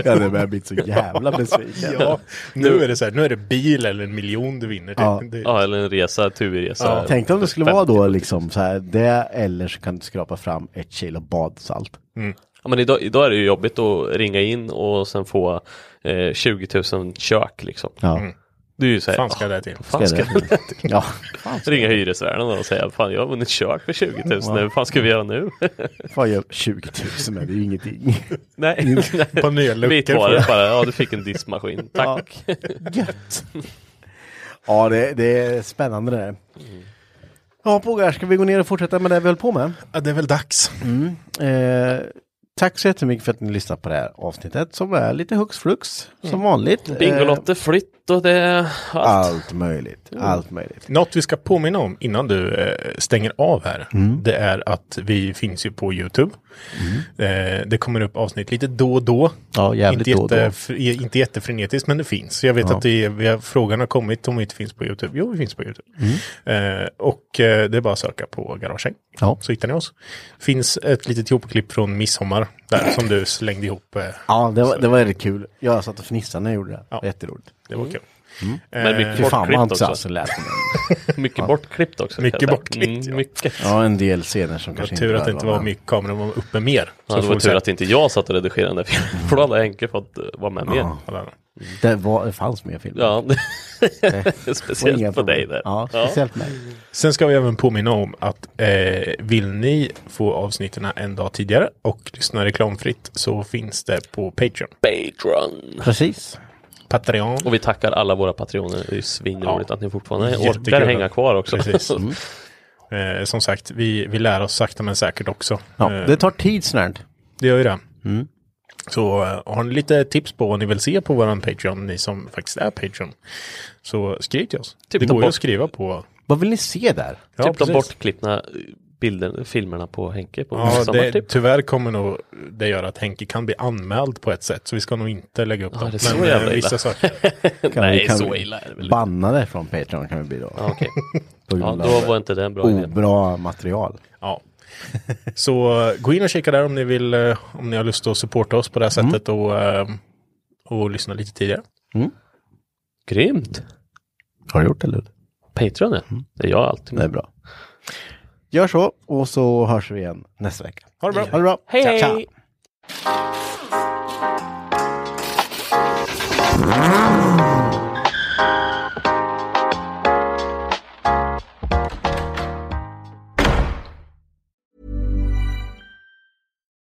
jag hade börjat bli så jävla besviken.
Ja, nu är det så här, nu är det bil eller en miljon du vinner. Typ.
Ja.
Det,
ja, eller en resa, turresa.
Ja, Tänk dig om det skulle vara då liksom så här, det eller så kan du skrapa fram ett kilo badsalt.
Ja, men idag, idag är det ju jobbigt att ringa in och sen få eh, 20 000 kök liksom.
Ja.
Det är ju så här,
fan ska det till?
fan ska
det- ja.
ringa hyresvärden och säga fan jag har vunnit kök för 20 000, hur fan ska vi göra nu?
Fan, jag 20 000 är det ju ingenting.
Mm.
Nej,
På nya luckor. får
vitvaror
jag.
bara, ja du fick en diskmaskin, tack.
Gött! Ja, det, det är spännande det där. Ja, Pågar, ska vi gå ner och fortsätta med det vi höll på med?
Ja, det är väl dags.
Eh, tack så jättemycket för att ni lyssnade på det här avsnittet som är lite hux flux,
Mm.
som vanligt. Eh,
Bingolotter, flytt och det... Allt.
allt möjligt,
Mm.
allt möjligt.
Något vi ska påminna om innan du eh, stänger av här,
Mm.
det är att vi finns ju på YouTube. Eh, det kommer upp avsnitt lite då och då.
Ja, jävligt
Inte,
då och då.
jättef- inte jättefrenetiskt, men det finns. Så jag vet att det är, vi har, frågan har kommit om vi inte finns på YouTube. Jo, vi finns på YouTube. Eh, och eh, det är bara att söka på garagen.
Mm. Ja.
Så hittar ni oss. finns ett litet ihopklipp från midsommar där som du slängde ihop. Eh,
Ja, det var, det var väldigt kul. Jag satt och fnissade när jag gjorde det.
Ja.
Ja. Jätteroligt.
det var kul.
Mm.
Eh,
Men mycket
Fy fan vad
bortklippt
han sa,
också.
så lät det.
Mycket bortklippt också.
Mycket
kan jag säga.
bortklippt, ja.
Mycket.
Ja, en del scener som
Det var
kanske
tur att
bör
det inte var
med.
mycket kameran var uppe mer.
Ja, det
får
var
vi
tur
se.
att inte jag satt och redigerade den där filmen, för då hade Henke fått eh, vara med mer.
Det, var, det fanns mer film.
Eh,
Ja,
Och inga
speciellt på
problem.
dig där.
Ja, speciellt mig.
Sen ska vi även påminna om att eh, vill ni få avsnitten en dag tidigare och lyssna reklamfritt så finns det på Patreon.
Patreon.
Precis.
Patreon.
Och vi tackar alla våra patroner. Det är ju svinroligt att ni fortfarande
Jättekul.
orkar hänga kvar också. Mm.
Precis. Eh, som sagt, vi, vi lär oss sakta men säkert också.
Ja,
Eh,
det tar tid snart.
det gör ju det.
Mm.
Så eh, har ni lite tips på vad ni vill se på våran Patreon, ni som faktiskt är Patreon, så skriv till oss.
Typ
det
ta
går ju
bort-
att skriva på...
Vad vill ni se där?
Ja,
typ de
precis.
bortklippna eh, bilder, filmerna på Henke på
Ja,
midsommar
det,
typ.
tyvärr kommer nog det göra att Henke kan bli anmäld på ett sätt. Så vi ska nog inte lägga upp
Ja,
dem.
det är så
Men,
jävla
eh,
illa.
vissa saker.
Nej, så illa är det väl inte.
Banna det från Patreon kan vi bli då.
Ja, Okej,
På
ja,
grund av
Mm.
då var inte det en bra idé.
obra material.
Ja. Så eh, gå in och kika där om ni vill, eh, om ni har lust att supporta oss på det här
Mm.
sättet och, eh, och lyssna lite tidigare.
Grymt!
Har du gjort det Lud?
Patreon ja.
Mm.
det är jag alltid
Det är
med.
bra. Gör så och så hörs vi igen nästa vecka.
Ha det bra!
Ha det bra.
Hej hej!
Tja.